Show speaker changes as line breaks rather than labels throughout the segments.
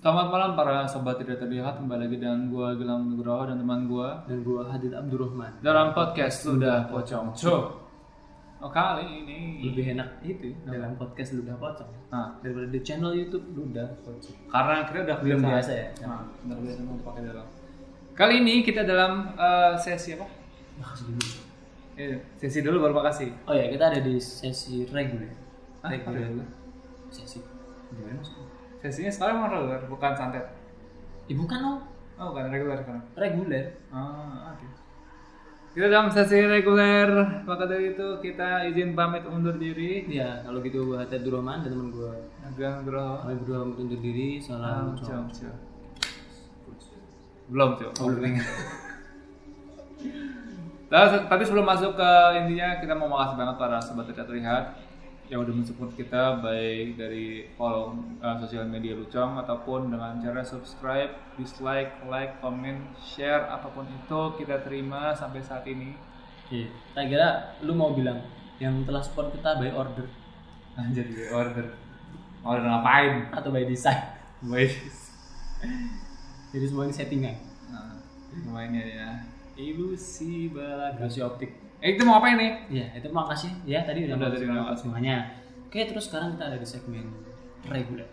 Selamat malam para sobat tidak terlihat kembali lagi dengan gua Gilang Nugroho dan teman gua
dan gua Hadid Abdurrahman
dalam podcast sudah pocong show. Oh, kali ini
lebih enak itu dalam podcast Ludah Pocong
Nah,
daripada di channel YouTube Ludah Pocong
karena kita udah
belum
kebiasaan.
biasa ya
Nah, udah kebiasaan mau pakai dalam. Kali ini kita dalam eh, sesi apa?
Makasih dulu.
Iya, sesi dulu baru makasih.
Nah, oh ya kita ada di sesi reguler
Hah, apa ya?
sesi gimana maksudnya
Sesinya sekarang emang reguler, bukan santet.
ya bukan dong
Oh, bukan reguler sekarang.
reguler
Ah, oke. Kita dalam sesi reguler, maka dari itu kita izin pamit undur diri.
ya kalau gitu gua Hadid Abdurrahman dan teman gua
Agak Nugroho.
kami berdua undur diri salam
Belum, Cok. Belum, Cok. Oh, Belum ingat. Nah, se- tapi sebelum masuk ke intinya kita mau makasih banget para sobat tidak terlihat yang udah mensupport kita baik dari follow uh, sosial media Lucong ataupun dengan cara subscribe, dislike, like, comment, share apapun itu kita terima sampai saat ini.
Iya. tak kira lu mau bilang yang telah support kita by order
Anjir, order. Order ngapain?
atau by design
Wait.
jadi semua ini settingan
Nah, lumayan ya. Ilusi balada.
versi optik
Eh, itu mau apa ini?
Iya, itu makasih ya tadi
Udah,
udah, makasih
tadi udah
banget
makasih.
semuanya. Oke, terus sekarang kita ada di segmen reguler.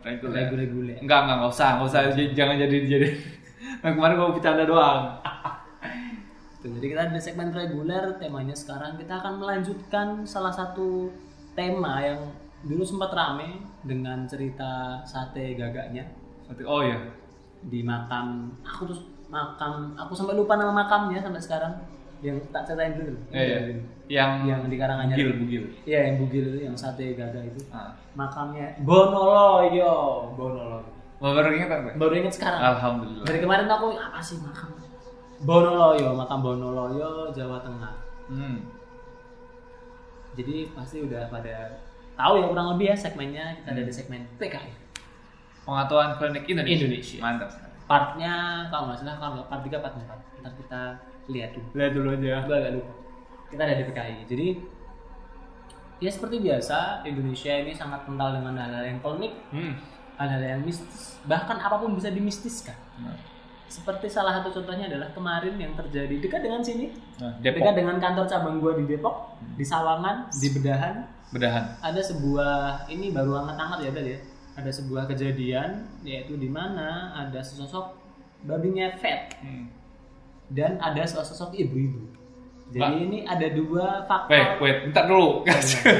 Reguler.
Reguler-reguler.
Enggak, enggak, enggak usah, enggak usah J- jangan jadi jadi. Nah, kemarin gua bercanda doang.
Tuh, Gitu, jadi kita ada di segmen reguler, temanya sekarang kita akan melanjutkan salah satu tema yang dulu sempat rame dengan cerita sate gagaknya
Nanti- Oh iya.
di makam aku terus makam aku sampai lupa nama makamnya sampai sekarang yang tak ceritain dulu
Iya, iya. Yang
yang di Karanganyar
bugil, bugil.
iya yang bugil itu yang sate gagak itu
Ah.
makamnya Bonoloyo Bonoloyo
Lo baru ingetan gue.
baru inget sekarang
Alhamdulillah.
dari kemarin tuh aku apa sih makam Bonoloyo makam Bonoloyo Jawa Tengah
Hmm.
jadi pasti udah pada tahu ya kurang lebih ya segmennya kita ada di segmen PKI
Pengetahuan klinik Indonesia.
Indonesia.
Mantap sekali.
partnya kalau nggak salah kalau nggak part 3 part 4 ntar kita lihat dulu
Lihat dulu aja.
gue agak lupa kita ada di PKI jadi ya seperti biasa Indonesia ini sangat kental dengan hal-hal yang klinik
Hmm.
hal-hal yang mistis bahkan apapun bisa dimistiskan
Nah,
seperti salah satu contohnya adalah kemarin yang terjadi dekat dengan sini
Nah,
Dekat
Depok Hmm.
dengan kantor cabang gua di Depok, di Sawangan, di Bedahan,
bedahan.
ada sebuah ini baru hangat-hangat ya tadi ya. Ada sebuah kejadian yaitu di mana ada sesosok babi ngefet
Hmm.
dan ada sesosok ibu-ibu. Jadi ini ada dua
Wait,
faktor
wait, bentar dulu.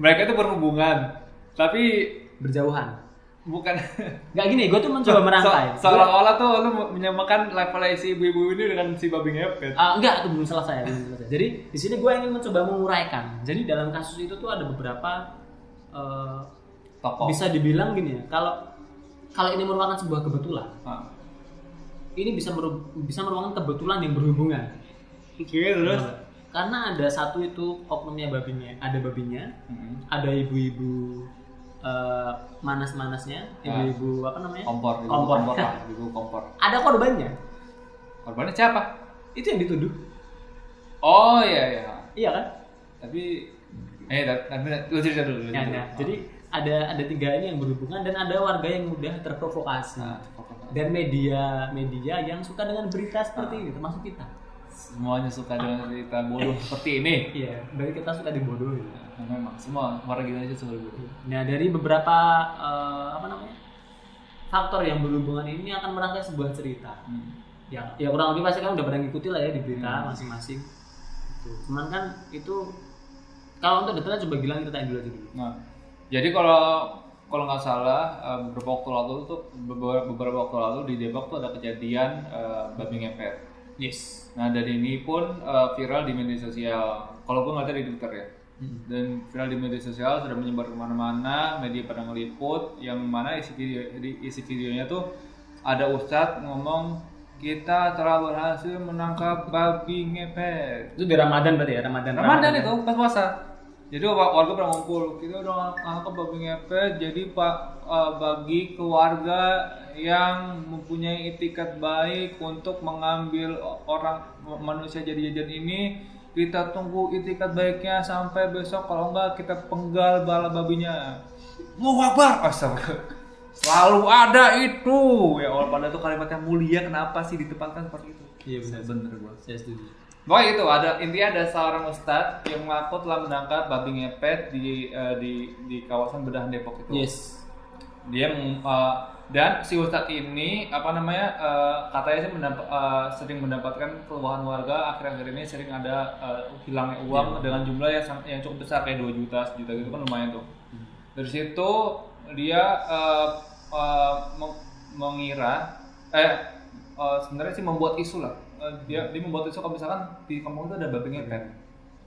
Mereka itu berhubungan, tapi
berjauhan.
bukan
Nggak gini, gue tuh mencoba merangkai.
So- seolah-olah tuh lu menyamakan level si ibu-ibu ini dengan si babi ngepet.
Ah, enggak, itu belum selesai. belum selesai. Jadi di sini gue ingin mencoba menguraikan. Jadi dalam kasus itu tuh ada beberapa eh,
Tokoh.
bisa dibilang gini ya kalau kalau ini merupakan sebuah kebetulan
Ah.
ini bisa meru- bisa merupakan kebetulan yang berhubungan
Oke, terus.
karena ada satu itu oknumnya babinya ada babinya
Hmm.
ada ibu-ibu eh, manas-manasnya ibu-ibu apa namanya
kompor ibu
Kompor.
kompor lah ibu kompor
ada korbannya
korbannya siapa
itu yang dituduh
oh iya iya
iya kan
tapi eh ta- tapi lu cerita dulu lu cerita
ya, ya.
dulu.
jadi ada ada tiga ini yang berhubungan dan ada warga yang mudah terprovokasi
Ah, kompor.
dan media media yang suka dengan berita seperti ini termasuk kita
semuanya suka dengan cerita bodoh seperti ini
iya dari kita suka dibodohin
Nah, memang semua warga kita aja suka bodoh
Nah dari beberapa eh, apa namanya faktor yang berhubungan ini akan merangkai sebuah cerita.
hmm.
Ya, ya kurang lebih pasti kan udah pada ngikutin lah ya di berita masing-masing. Gitu. Cuman kan itu kalau untuk detailnya coba Gilang ceritain dulu aja dulu.
nah jadi kalau kalau nggak salah eh, beberapa waktu lalu tuh beberapa, beberapa waktu lalu di Depok tuh ada kejadian eh, babi ngepet
Yes.
Nah dan ini pun eh, viral di media sosial. Kalau gue ngeliatnya di Twitter ya. Dan viral di media sosial sudah menyebar kemana-mana, media pada ngeliput. Yang mana isi video, di- isi videonya tuh ada Ustadz ngomong kita telah berhasil menangkap babi ngepet.
Itu di Ramadan berarti ya Ramadan.
Ramadan itu pas puasa. Jadi wa- warga pada ngumpul. Kita udah nangkap babi ngepet. Jadi pak eh, bagi keluarga yang mempunyai itikat baik untuk mengambil o- orang manusia jadi jajan ini kita tunggu itikat baiknya sampai besok kalau enggak kita penggal bala babinya. Mau wabar, astagfirullah. Selalu ada itu. Ya Allah, padahal itu kalimat yang mulia kenapa sih ditempatkan seperti itu?
Iya benar.
Bener gua.
Saya setuju.
Pokoknya itu ada intinya ada seorang ustadz yang mengaku telah menangkap babi ngepet di eh, di di kawasan bedahan Depok itu.
Yes.
Dia meng- eh, dan si ustadz ini apa namanya eh, katanya sih mendap- eh, sering mendapatkan keluhan warga akhir-akhir ini sering ada eh, hilangnya uang dengan jumlah yang sang- yang cukup besar kayak 2 juta, sejuta gitu kan lumayan tuh.
Hmm.
Dari situ dia eh, eh, meng- mengira eh eh, sebenarnya sih membuat isu lah. Eh, dia dia membuat isu kalau misalkan di kampung itu ada babi ngepet.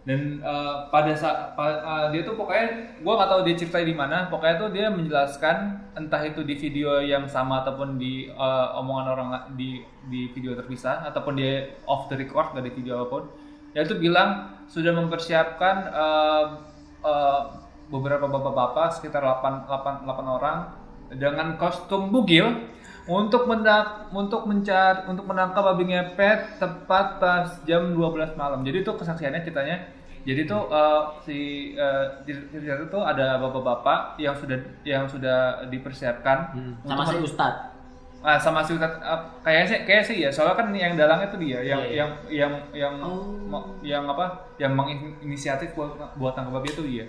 Dan eh, pada saat dia tuh pokoknya gua nggak tahu dia ceritanya di mana, pokoknya tuh dia menjelaskan entah itu di video yang sama ataupun di eh, omongan orang la- di di video terpisah ataupun dia off the record dari video apapun. Yaitu bilang sudah mempersiapkan eh, eh, beberapa bapak-bapak sekitar 8, 8, 8 orang dengan kostum bugil untuk menda- untuk mencar untuk menangkap babi ngepet tepat pas jam 12 malam. Jadi itu kesaksiannya ceritanya. Jadi itu
Hmm.
eh, si eh, di di situ tuh ada bapak-bapak yang sudah yang sudah dipersiapkan untuk
Hmm. Sama si Ustad.
Ah, sama si Ustadz eh, kayaknya sih kayak sih ya soalnya kan yang dalangnya tuh dia yang
Iya, iya.
yang yang yang
Oh.
mo- yang apa yang menginisiatif buat buat tangkap babi itu dia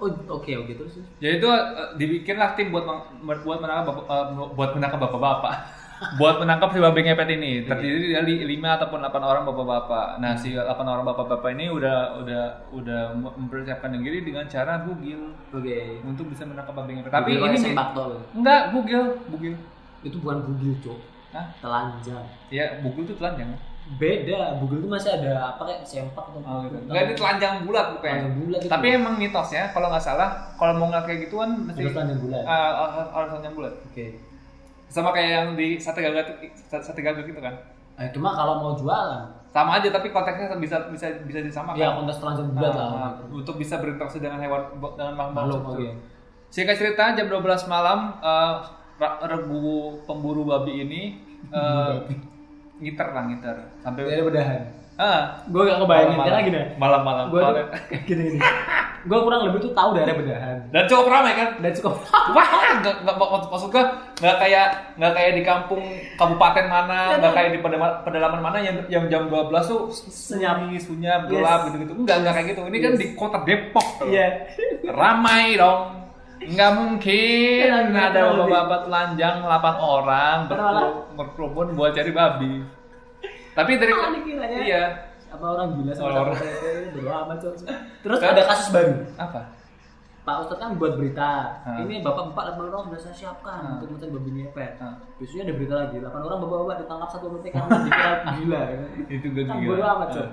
Oh, oke oke terus. terus.
jadi itu eh, dibikinlah tim buat meng- buat menangkap bapak, eh, buat menangkap bapak-bapak. buat menangkap si babi ngepet ini terdiri
Iya.
dari lima ataupun 8 orang bapak-bapak. Nah,
Hmm.
si 8 orang bapak-bapak ini udah udah udah mempersiapkan diri dengan cara bugil
Oke.
untuk bisa menangkap babi ngepet. Tapi
Bugil
ini
kayak sempak tol.
enggak bugil, bugil.
Itu bukan bugil, Cok.
Hah?
Telanjang.
Ya, bugil itu telanjang.
Beda, bugil itu masih ada apa kayak sempak atau
Enggak Oh, gitu. itu telanjang bulat bukannya.
Oh, gitu. Telanjang bulat itu.
Tapi emang mitosnya kalau nggak salah kalau mau nggak kayak gituan mesti
Harus telanjang bulat.
eh, harus harus telanjang bulat.
Oke.
Sama kayak yang di sate gagak sate gagak gitu kan.
Eh, cuma kalau mau jualan,
sama aja tapi konteksnya bisa bisa bisa disamakan
ya kontes telanjang
Nah,
bulat lah.
nah, untuk bisa berinteraksi dengan hewan dengan makhluk
Makhluk, iya.
makhluk
oke.
okay. singkat cerita jam 12 malam eh, ra- regu pemburu babi ini eh, ngiter lah ngiter sampai
Dari bedahan.
ah
Gue gak kebayangin
malam-malam.
karena Iya. gini.
malam-malam
Gue tuh
Soalnya-
gini gini. Gue kurang lebih tuh tahu daerah bedahan.
dan cukup ramai kan
Dan cukup
wah nggak nggak mak- maksud gua nggak kayak nggak kayak di kampung kabupaten mana nggak kayak di pedema- pedalaman mana yang yang jam 12 tuh
Senyap.
sunyi sunyap
Yes.
gelap gitu gitu enggak enggak kayak gitu ini kan di kota Depok tuh.
Iya.
ramai dong nggak mungkin
Kenapa nggak
ada
tahu, Di?
bapak-bapak telanjang 8 orang
Berapa lah?
berkeru- berkerumun buat cari babi tapi dari
Apaan nih kiranya?
iya
Apa orang gila sama
Orang-
orang Bodo amat, Cok. Terus ada kasus baru.
apa
Pak Ustadz kan buat berita.
Hmm.
Ini bapak-bapak 8 orang sudah saya siapkan
Hmm.
untuk mencari babi ngepet.
Hmm.
Besoknya ada berita lagi, 8 orang bapak-bapak ditangkap satu detik karena dikira gila. ya kan?
itu gue
Kan
gila.
bodo amat, Cok.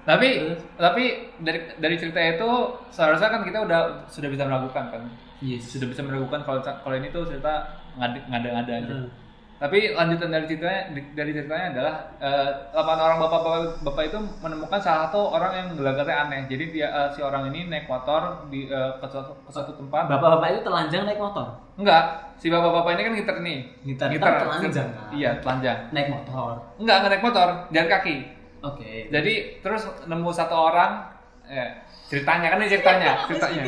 tapi
Terus?
tapi dari dari cerita itu seharusnya kan kita udah sudah bisa meragukan kan
Yes.
sudah bisa meragukan kalau kalau ini tuh cerita ngad- ngada-ngada aja
Hmm.
tapi lanjutan dari ceritanya di- dari ceritanya adalah eh, delapan orang bapak, bapak bapak itu menemukan salah satu orang yang gelagatnya aneh jadi dia eh, si orang ini naik motor di eh, ke, suatu, ke suatu tempat
Bapak-bapak itu telanjang naik motor.
enggak si bapak bapak ini kan ngiter nih
Ngiter,
Ngiter.
kan telanjang, kan?
iya telanjang
Naik motor.
enggak enggak naik motor jalan kaki
Oke.
Iya. jadi terus nemu satu orang eh, ceritanya kan ini ceritanya ceritanya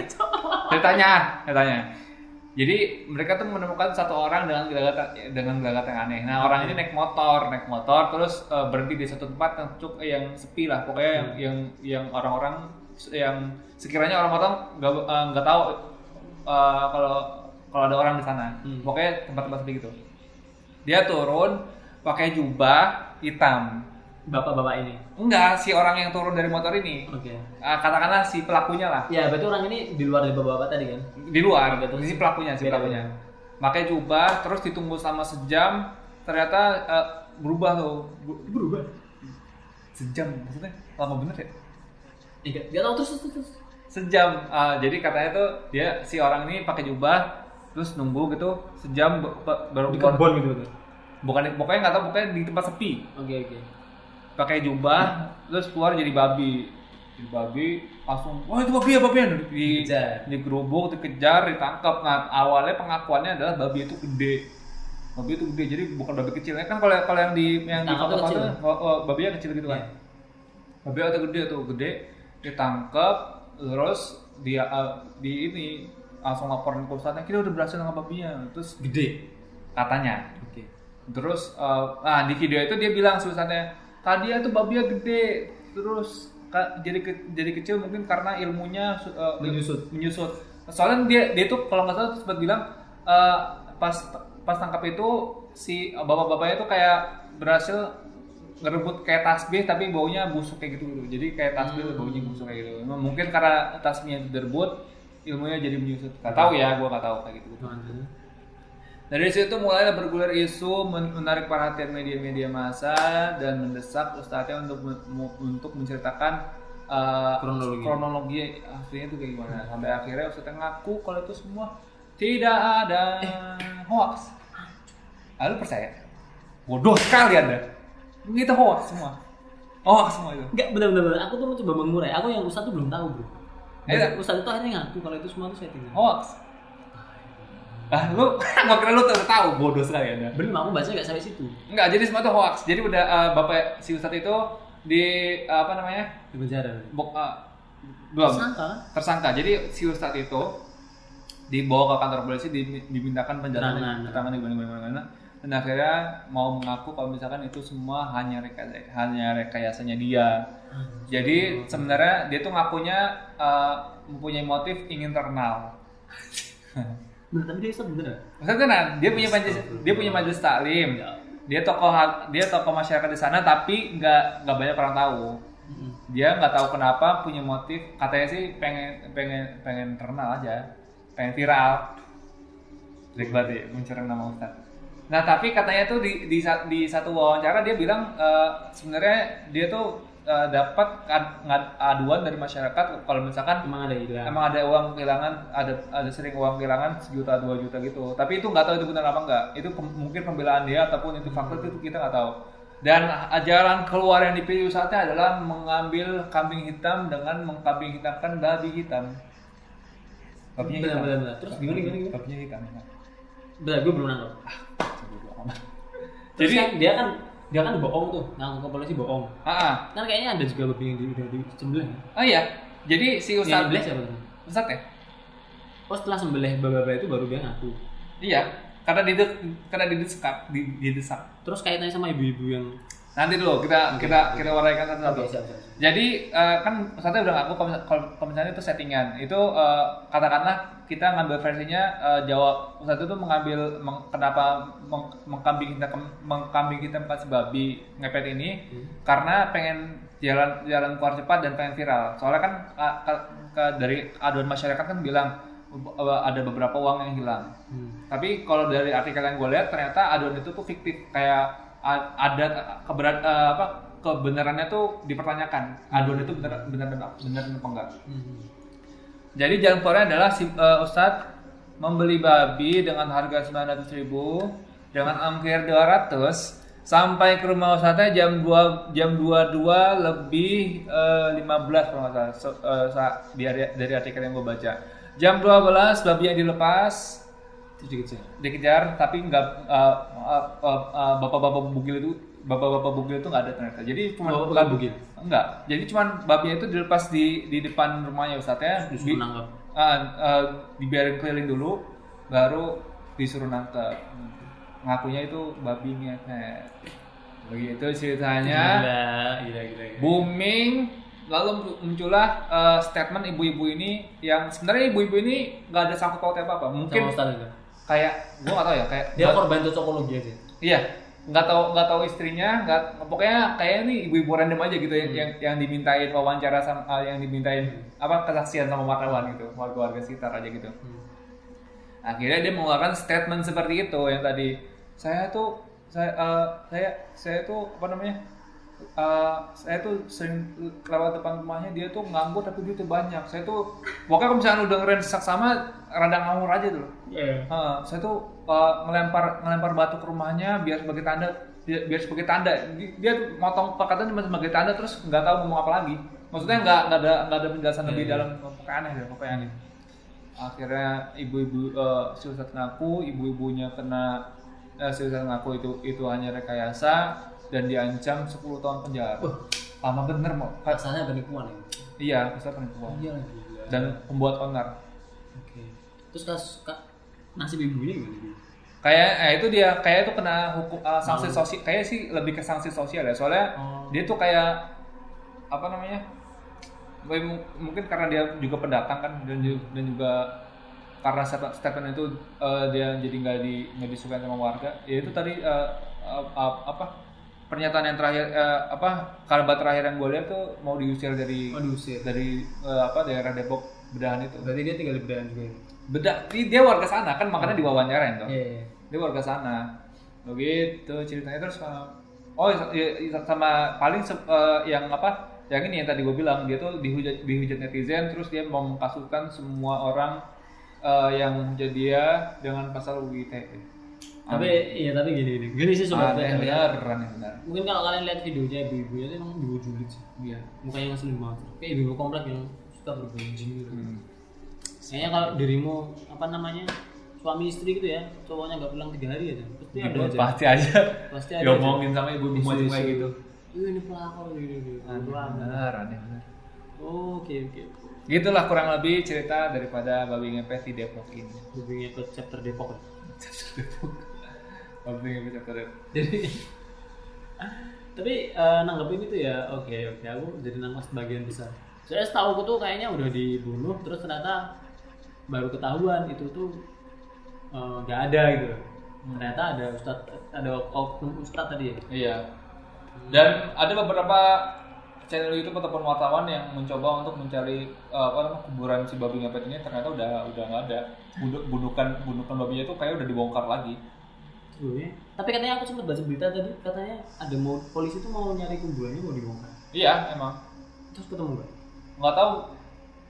ceritanya ceritanya jadi mereka tuh menemukan satu orang dengan gelagat dengan gelagat yang aneh. Nah orang ini naik motor, naik motor, terus eh, berhenti di satu tempat yang cuk- yang sepi lah, pokoknya yang yang yang orang-orang yang sekiranya orang-orang nggak eh, nggak tahu eh, kalau kalau ada orang di sana,
Hmm.
pokoknya tempat-tempat sepi gitu. Dia turun pakai jubah hitam,
Bapak-bapak ini.
Enggak, si orang yang turun dari motor ini.
Oke.
Ah, katakanlah si pelakunya lah.
Ya, berarti orang ini di luar dari bapak-bapak tadi kan?
Di luar, si pelakunya, si
Beda,
pelakunya. Makanya jubah, terus ditunggu sama sejam, ternyata eh, berubah tuh. Bu-
Berubah.
Sejam, maksudnya lama bener ya?
Iya, gak tau terus terus. terus.
Sejam. Ah, jadi katanya tuh dia si orang ini pakai jubah, terus nunggu gitu sejam ba- ba- baru
Di
keluar.
kebon gitu betul.
Bukan, pokoknya nggak tahu, pokoknya di tempat sepi.
Oke oke.
pakai
Hmm.
jubah terus keluar jadi babi jadi babi langsung wah itu babi ya babi ya di
Dikejar.
digerubuk dikejar ditangkap nah awalnya pengakuannya adalah babi itu gede babi itu gede jadi bukan babi kecilnya kan kalau kalau yang di yang di
Ditangkapnya
foto-foto
kecil.
oh, oh, babinya kecil gitu kan babi itu gede tuh gede ditangkap terus dia eh, di ini langsung laporan ke ustadznya kita udah berhasil nangkap babinya terus
Gede.
katanya.
Oke.
Terus eh, nah di video itu dia bilang tulisannya tadi itu babia gede terus ka- jadi ke- jadi kecil mungkin karena ilmunya su- eh, il-
Menyusut.
menyusut. Soalnya dia dia tuh kalau nggak salah sempat bilang eh, pas pas tangkap itu si bapak-bapaknya tuh kayak berhasil ngerebut kayak tasbih tapi baunya busuk kayak gitu gitu. Jadi kayak tasbih baunya busuk kayak gitu. Emang Mungkin karena tasbihnya direbut ilmunya jadi menyusut. Gak tahu ya, gua nggak tahu kayak gitu.
Gimana?
Dari situ mulai bergulir isu men- menarik perhatian media-media massa dan mendesak ustadznya untuk men- mu- untuk menceritakan uh,
Kronologi.
kronologi aslinya itu kayak gimana. Sampai akhirnya ustadznya ngaku kalau itu semua tidak ada hoax. Lalu percaya? Bodoh sekali anda. Itu hoax semua. Hoax semua itu.
Enggak, benar-benar. Aku tuh mencoba mengurai. Aku yang Ustadz tuh belum tahu, bro.
Eh,
Dan Ustadz itu akhirnya ngaku kalau itu semua tuh settingan.
Hoax. Ah, lu gua kira lu udah tahu bodoh sekali anda.
Belum, aku baca nggak sampai situ.
Enggak, jadi semua itu hoax. Jadi udah eh, bapak si Ustadz itu di eh, apa namanya?
Di penjara.
Bok, eh, belum
Sangka kan?
tersangka. Jadi si Ustadz itu dibawa ke kantor polisi dim- dimintakan penjelasan
Keterangan.
keterangan di mana dan akhirnya mau mengaku kalau misalkan itu semua hanya rekayasa, hanya rekayasanya dia. Jadi sebenarnya dia tuh ngakunya eh, mempunyai motif ingin terkenal.
Bener, tapi dia Ustadz bener ya?
Maksudnya tenang, nah, dia punya majelis, dia punya majelis taklim. Dia tokoh dia tokoh masyarakat di sana tapi nggak nggak banyak orang tahu.
Mm-mm.
Dia nggak tahu kenapa punya motif katanya sih pengen pengen pengen terkenal aja, pengen viral. Jelek banget ya, mencerang nama Ustaz. Nah tapi katanya tuh di di, sa- di satu wawancara dia bilang eh, sebenarnya dia tuh eh, dapat ad- ngad- aduan dari masyarakat kalau misalkan
Emang ada hilang.
emang ada uang kehilangan ada ada sering uang kehilangan sejuta dua juta gitu tapi itu nggak tahu itu benar apa enggak itu pem- mungkin pembelaan dia ataupun itu fakta itu kita nggak tahu dan ajaran keluar yang dipilih saatnya adalah mengambil kambing hitam dengan mengkambing hitamkan babi hitam babinya
Benar,
hitam
benar, benar. Terus gimana, gimana, gimana?
babinya hitam ya.
Bener, gue belum nangkep. Terus
jadi
kan, dia kan dia kan bohong tuh, ngaku ke polisi bohong.
ah ah.
Kan kayaknya ada juga babi yang di, udah disembelih.
oh iya jadi si
Yang
ustadz
disembelih siapa tuh?
ustadz ya
Oh setelah sembelih babi-babi itu baru dia ngaku.
iya karena di karena didesak di, didesak
Terus kaitannya sama ibu-ibu yang
nanti dulu kita kita kita warnaikan satu satu
siap, siap, siap.
Jadi eh, kan ustadznya udah ngaku kalau- kalau pemisahannya itu settingan. Itu eh, katakanlah kita ngambil versinya eh, Jawa ustadz itu mengambil meng- kenapa meng- mengkambing kita mengkambing kita empat babi ngepet ini karena pengen jalan jalan keluar cepat dan pengen viral. Soalnya kan eh, ke- ke- dari aduan masyarakat kan bilang eh, ada beberapa uang yang hilang.
Hmm.
Tapi kalau dari artikel yang gue lihat ternyata aduan itu tuh fiktif kayak a- ada keberat eh, apa kebenarannya tuh dipertanyakan. Aduan itu benar benar benar apa enggak.
Hmm.
Jadi jalan keluarnya adalah si eh, Ustadz membeli babi dengan harga 900.000 dengan ongkir 200 sampai ke rumah Ustadznya jam 2 jam 22 lebih eh, 15 kalau nggak salah so- eh, sa- di area- dari artikel yang gue baca. Jam 12 babi yang dilepas
Terus dikejar.
dikejar tapi nggak eh, eh, eh, eh, bapak-bapak bugil itu bapak-bapak bugil itu nggak ada ternyata jadi cuma
Bapak-bapak bugil?
enggak jadi cuman babinya itu dilepas di di depan rumahnya ustadznya
Disuruh
Di-
nangkep.
ah, eh, dibiarin keliling dulu baru disuruh nangkep ngakunya itu babinya kayak begitu
Iya.
ceritanya
Gila, gila, gila. gila.
booming lalu muncullah eh, statement ibu-ibu ini yang sebenarnya ibu-ibu ini nggak ada sangkut pautnya apa apa mungkin
Sama Ustaz itu.
kayak gua nggak tahu ya kayak
Dia korban cocokologi aja.
Iya, nggak tahu nggak tahu istrinya, nggak pokoknya kayak nih ibu-ibu random aja gitu yang yang, yang dimintain wawancara sama ah, yang dimintain apa kesaksian sama wartawan gitu, warga-warga sekitar aja gitu.
Hmm.
Akhirnya dia mengeluarkan statement seperti itu yang tadi saya tuh saya eh, saya saya tuh apa namanya? eh, saya tuh sering lewat depan rumahnya dia tuh nganggur tapi duitnya banyak. Saya tuh pokoknya kalau misalnya lu dengerin sama rada ngawur aja tuh. Heeh,
Iya.
Eh, saya tuh uh, ngelempar ngelempar batu ke rumahnya biar sebagai tanda biar, biar sebagai tanda Di- dia tuh motong perkataan cuma sebagai tanda terus nggak tahu ngomong apa lagi maksudnya nggak nggak ada nggak ada penjelasan lebih dalam pokoknya aneh deh pokoknya aneh akhirnya ibu-ibu eh, si Ustadz ngaku ibu-ibunya kena eh, si Ustadz ngaku itu itu hanya rekayasa dan diancam 10 tahun penjara
Wah.
lama bener mau
Rasanya penipuan ya.
iya Ustadz penipuan
Iya, gila.
dan pembuat onar
Oke. Terus kas, ka, nasib ibunya gimana? Bu?
kayak eh, itu dia kayak itu kena hukum eh, sanksi sosial kayak sih lebih ke sanksi sosial ya soalnya
Oh.
dia tuh kayak apa namanya m- mungkin karena dia juga pendatang kan dan ju- dan juga karena stat- statement itu eh, dia jadi nggak di nggak disukai sama warga ya itu tadi eh, eh, ap- apa pernyataan yang terakhir eh, apa kalimat terakhir yang gue lihat tuh mau diusir dari
Waduh sih.
dari eh, apa daerah Depok bedahan itu
Berarti dia tinggal di Medan juga. ya?
bedak dia warga sana kan makanya diwawancarain tuh
Iya. iya.
dia warga sana begitu ceritanya terus uh, oh iya, iya, sama paling se- eh, yang apa yang ini yang tadi gue bilang dia tuh dihujat dihujat netizen terus dia mau mengkasutkan semua orang eh, yang menghujat dia dengan pasal UU ITE
Tapi iya tapi gini gini. Gini sih sobat.
ada yang benar ada yang benar
Mungkin kalau kalian lihat videonya ibu-ibu ya, itu emang ibu julid sih.
iya
Mukanya yang slim banget. Kayak ibu-ibu komplek yang suka bergunjing gitu.
Hmm.
Kayaknya kalau dirimu apa namanya suami istri gitu ya cowoknya nggak pulang tiga hari aja pasti ada aja
pasti aja
pasti ada aja
diomongin sama ibu ibu
Isu-isu.
kayak gitu
Ih, Iya, ini pelakor gini gini Ah, pelakor
benar aneh benar
oke oke
gitulah kurang lebih cerita daripada babi ngepet di Depok ini
hubungnya ke chapter Depok ya
babi ngepet chapter Depok.
jadi tapi eh, nanggepin itu ya oke oke aku jadi nangkep sebagian besar soalnya setahu aku tuh kayaknya udah dibunuh terus ternyata baru ketahuan itu tuh eh, nggak ada gitu loh ternyata ada ustad ada oknum ustad tadi ya
Iya. Dan ada beberapa channel YouTube ataupun wartawan yang mencoba untuk mencari eh, apa namanya kuburan si babi ngepet ini ternyata udah udah nggak ada. Bundu- Bundukan bundukan babinya itu kayak udah dibongkar lagi.
Oh, iya. tapi katanya aku sempat baca berita tadi katanya ada mau polisi tuh mau nyari kuburannya mau dibongkar
Iya emang.
terus ketemu nggak
Nggak tahu.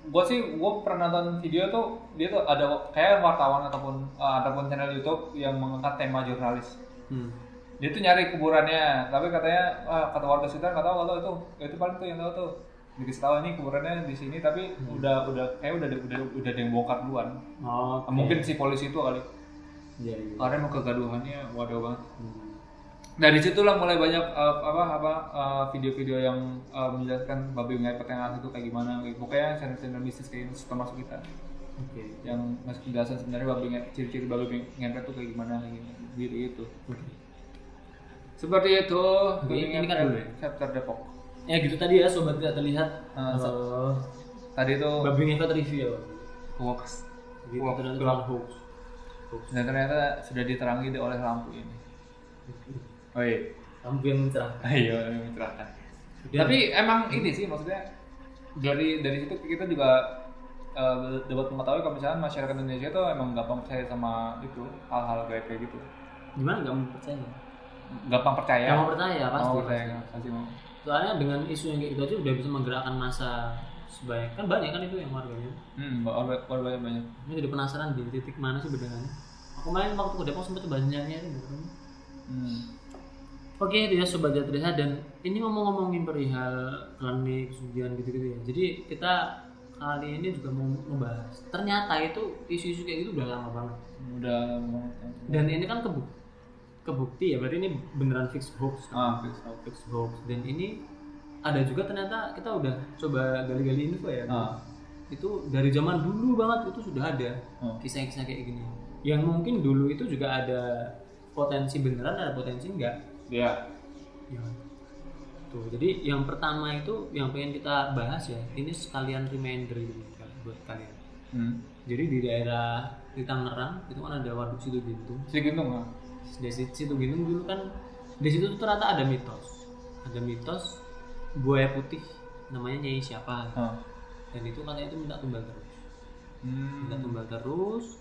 Gue sih gue pernah nonton video tuh dia tuh ada kayak wartawan ataupun eh, ataupun channel YouTube yang mengangkat tema jurnalis.
hmm.
Dia tuh nyari kuburannya, tapi katanya ah, kata warga sekitar nggak tahu nggak tahu itu Ya, itu paling tuh yang tahu tuh dikasih tahu ini kuburannya di sini tapi
Hmm.
udah udah kayak udah udah udah ada yang bongkar duluan
oh oke.
mungkin si polisi itu kali
Iya, iya.
karena emang kegaduhannya waduh banget
Hmm.
dari situlah mulai banyak uh, apa apa uh, video-video yang uh, menjelaskan babi ngepet yang asli itu kayak gimana gitu. pokoknya channel-channel mistis kayak gitu termasuk kita
oke
yang masih penjelasan sebenarnya babi ngepet ciri-ciri babi ngepet tuh kayak gimana gitu gitu
oke
seperti itu babi
ini kan
ngepet
dulu ya?
chapter Depok
ya gitu tadi ya sobat tidak terlihat
Ah,
Eh,
tadi itu
babi ngepet review
hoax
gitu Nah.
Wah,
ternyata
gelap.
cuma hoax hoax
dan ternyata sudah diterangi oleh lampu ini oh iya
lampu yang mencerahkan
ayo mencerahkan
Iya.
tapi emang ini sih maksudnya dari dari situ kita juga eh, dapat mengetahui kalau misalnya masyarakat Indonesia tuh emang gampang percaya sama itu hal-hal kayak kayak gitu
gimana nggak mau percaya
gampang percaya
nggak mau percaya pasti
mau percaya pasti mau
soalnya dengan isu yang kayak gitu aja udah bisa menggerakkan massa sebanyak kan banyak kan itu yang warganya
hmm banyak banyak banyak
Ini jadi penasaran di titik mana sih bedakannya. Aku main waktu ke Depok gitu sempat banyaknya itu. beneran.
hmm.
Oke, itu ya sobat Jatriha dan ini ngomong-ngomongin perihal klinik, kesugihan gitu-gitu ya. Jadi kita kali ini juga mau membahas. Ternyata itu isu-isu kayak gitu udah lama banget.
udah mau
Dan ini kan kebuk kebukti ya, berarti ini beneran fix hoax.
ah fix out.
Fix hoax. Dan ini ada juga ternyata kita udah coba gali-gali info ya.
ah
Itu dari zaman dulu banget itu sudah ada
oh.
kisah-kisah kayak gini yang mungkin dulu itu juga ada potensi beneran ada potensi enggak
ya
ya. tuh jadi yang pertama itu yang pengen kita bahas ya ini sekalian reminder gitu buat kal- buat kalian
hmm.
jadi di daerah di Tangerang itu kan ada waduk situ gintung
si gendong ah
di situ situ gintung dulu kan di situ tuh ternyata ada mitos ada mitos buaya putih namanya nyai siapa
Ah.
dan itu katanya itu minta tumbal terus minta
hmm.
tumbal terus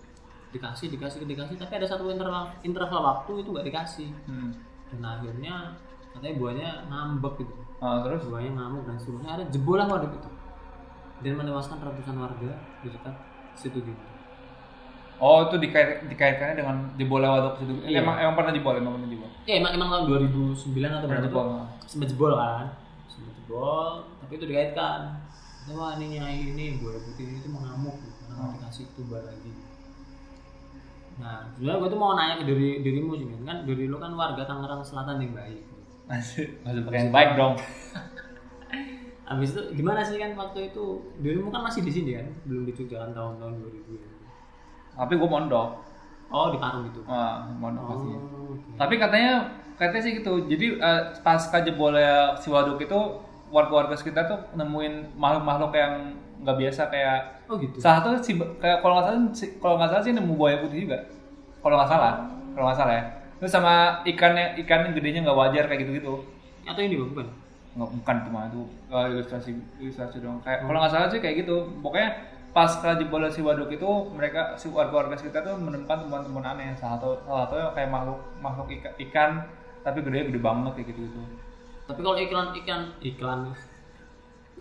dikasih dikasih dikasih tapi ada satu interval interval waktu itu nggak dikasih
hmm.
dan akhirnya katanya buahnya ngambek gitu
ah terus
buahnya ngamuk dan seterusnya ada jebolan waduk itu dan menewaskan ratusan warga di dekat situ gitu
oh itu dikait dikaitannya dengan jebol lewat waktu itu
Iya.
emang emang pernah jebol emang pernah jebol
ya emang emang tahun 2009 atau
pernah
berapa
jebol
tuh
ah.
sempat jebol kan sempat jebol tapi itu dikaitkan Katanya, wah ini nyai ini buaya putih ini tuh mau ngamuk gitu karena nggak dikasih tumbal lagi nah sebenarnya gue tuh mau nanya ke diri dirimu sih Min. kan diri lu kan warga Tangerang Selatan yang baik gitu.
Masih pakai yang baik dong.
Abis itu gimana sih kan waktu itu dirimu kan masih di sini kan, belum di Jogja kan tahun-tahun 2000 ya.
Tapi gue mondok. Oh, di
paru gitu.
Ah, mohon makasih.
oke.
Tapi katanya katanya sih gitu. Jadi eh, pasca jebolnya si waduk itu warga-warga sekitar tuh nemuin makhluk-makhluk yang nggak biasa kayak
Oh gitu.
salah satu si kayak kalau nggak salah si- kalau nggak salah sih nemu buaya putih juga. Kalau nggak salah, kalau nggak salah ya. Terus sama ikannya ikannya gedenya nggak wajar kayak gitu-gitu.
Atau ini Bang, bukan?
nggak bukan cuma itu eh, ilustrasi ilustrasi doang
Hmm.
kayak kalau nggak salah sih kayak gitu pokoknya eh, pasca jebolnya si waduk itu mereka si warga-warga sekitar tuh menemukan temuan-temuan aneh salah satu salah satunya kayak makhluk makhluk ika- ikan tapi gede gede banget kayak gitu gitu
Tapi kalau iklan ikan iklan.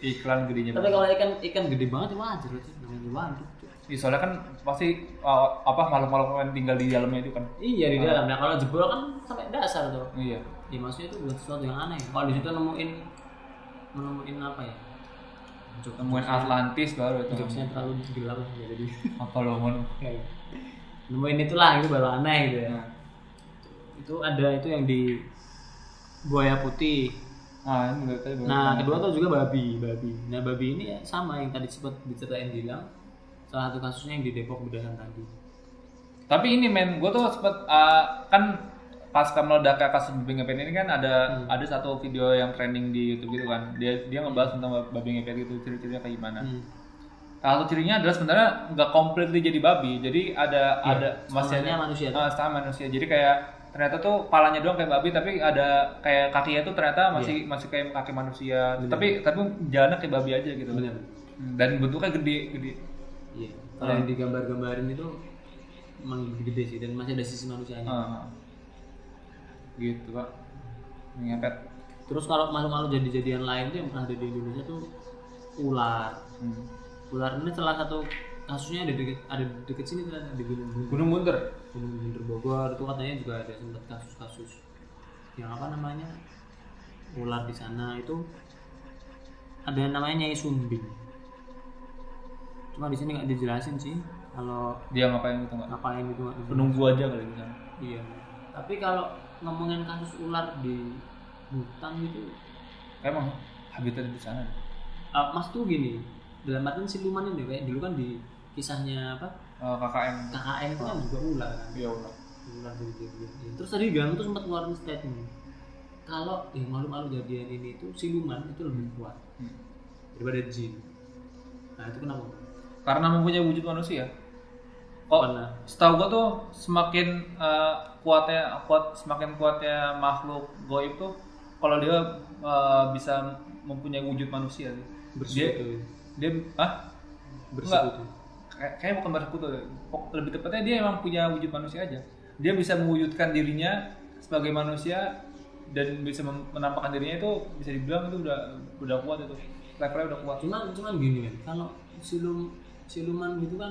iklan gedenya
Tapi
banget.
kalau ikan ikan gede banget ya wajar sih namanya waduk. cuy.
Ih, soalnya kan pasti eh, apa makhluk-makhluk yang tinggal di dalamnya itu kan
Iya di dalam. Nah kalau jebol kan sampai dasar tuh.
iya
Ya maksudnya itu bukan sesuatu yang aneh. Kalau di situ nemuin nemuin apa ya? Jokes-
temuin Atlantis baru itu
Jokesnya terlalu gelap lah jadi
apa lo mau
kayak nemuin itulah itu baru aneh gitu ya.
Nah.
Itu ada itu yang di buaya putih.
ah ini menurut saya baru-
Nah, kedua tuh juga babi, babi. Nah, babi ini ya sama yang tadi sempat diceritain bilang salah satu kasusnya yang di Depok Bedahan tadi.
Tapi ini men, gue tuh sempet uh, kan pasca meledaknya kasus babi ngepet ini kan ada ada satu video yang trending di YouTube gitu kan. Dia dia ngebahas tentang babi ngepet gitu ciri-cirinya kayak gimana.
Hmm.
Salah satu cirinya adalah sebenarnya nggak completely jadi babi. Jadi ada
Iya,
ada masih ada
Manusia manusia.
ah, setengah manusia. Jadi kayak ternyata tuh palanya doang kayak babi tapi ada kayak kakinya tuh ternyata masih masih kayak kaki manusia. Tapi tapi jalannya kayak babi aja gitu.
Benar.
Dan bentuknya gede gede.
Iya.
Ah.
Kalau yang digambar-gambarin itu emang gede sih dan masih ada sisi manusianya.
Ah. gitu, Pak. Ngepet.
Terus kalau makhluk-makhluk jadi-jadian lain tuh yang pernah ada di Indonesia tuh ular.
Hmm.
Ular ini salah satu kasusnya ada deket, ada deket sini ternyata di Gunung Buntut.
Gunung Munter.
Gunung Buntut Bogor itu katanya juga ada sempat kasus-kasus yang apa namanya ular di sana itu ada yang namanya Nyai Sumbing cuma di sini nggak dijelasin sih kalau
Dia ngapain gitu nggak?
ngapain itu nggak dijelasin.
Penunggu aja kali di sana.
iya tapi kalau ngomongin kasus ular di hutan itu
Emang habitat di sana.
eh, mas tuh gini dalam artian siluman ini kayak dulu kan di kisahnya apa
Eh, KKM.
KKN itu kan juga ular kan
Iya udah.
Ular dari jadian ini. Terus tadi Gang tuh sempat ngeluarin statement kalau yang malu-malu jadian ini itu siluman itu lebih kuat
Hmm.
daripada jin. Nah itu kenapa?
Karena mempunyai wujud manusia.
Oh.
Kok setahu gua tuh semakin eh, kuatnya kuat semakin kuatnya makhluk goib tuh kalau dia eh, bisa mempunyai wujud manusia sih. Dia
bersekutu,
dia ah
bersekutu.
kayak kayaknya bukan bersekutu deh. Pok- lebih tepatnya dia emang punya wujud manusia aja dia bisa mewujudkan dirinya sebagai manusia dan bisa mem- menampakkan dirinya itu bisa dibilang itu udah udah kuat itu levelnya udah kuat
Cuman cuman gini kan, kalau silum siluman gitu kan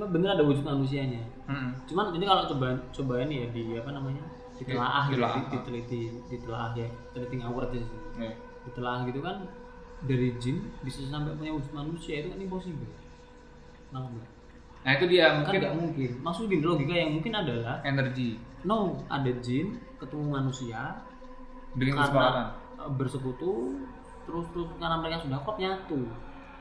emang bener ada wujud manusianya.
Mm-mm.
Cuman ini kalau coba coba ini ya di apa namanya ditelaah, gitu,
Ditelaah.
di- diteliti, ditelaah ya, teliti ngawur aja sih.
Iya.
Ditelaah gitu kan dari jin bisa sampai punya wujud manusia itu kan impossible. Nangkep nggak?
nah itu dia
kan
mungkin
nggak mungkin maksud gini logika yang mungkin adalah
energi
no ada jin ketemu manusia
dengan kesepakatan
karena eh, bersekutu terus terus karena mereka sudah kuat nyatu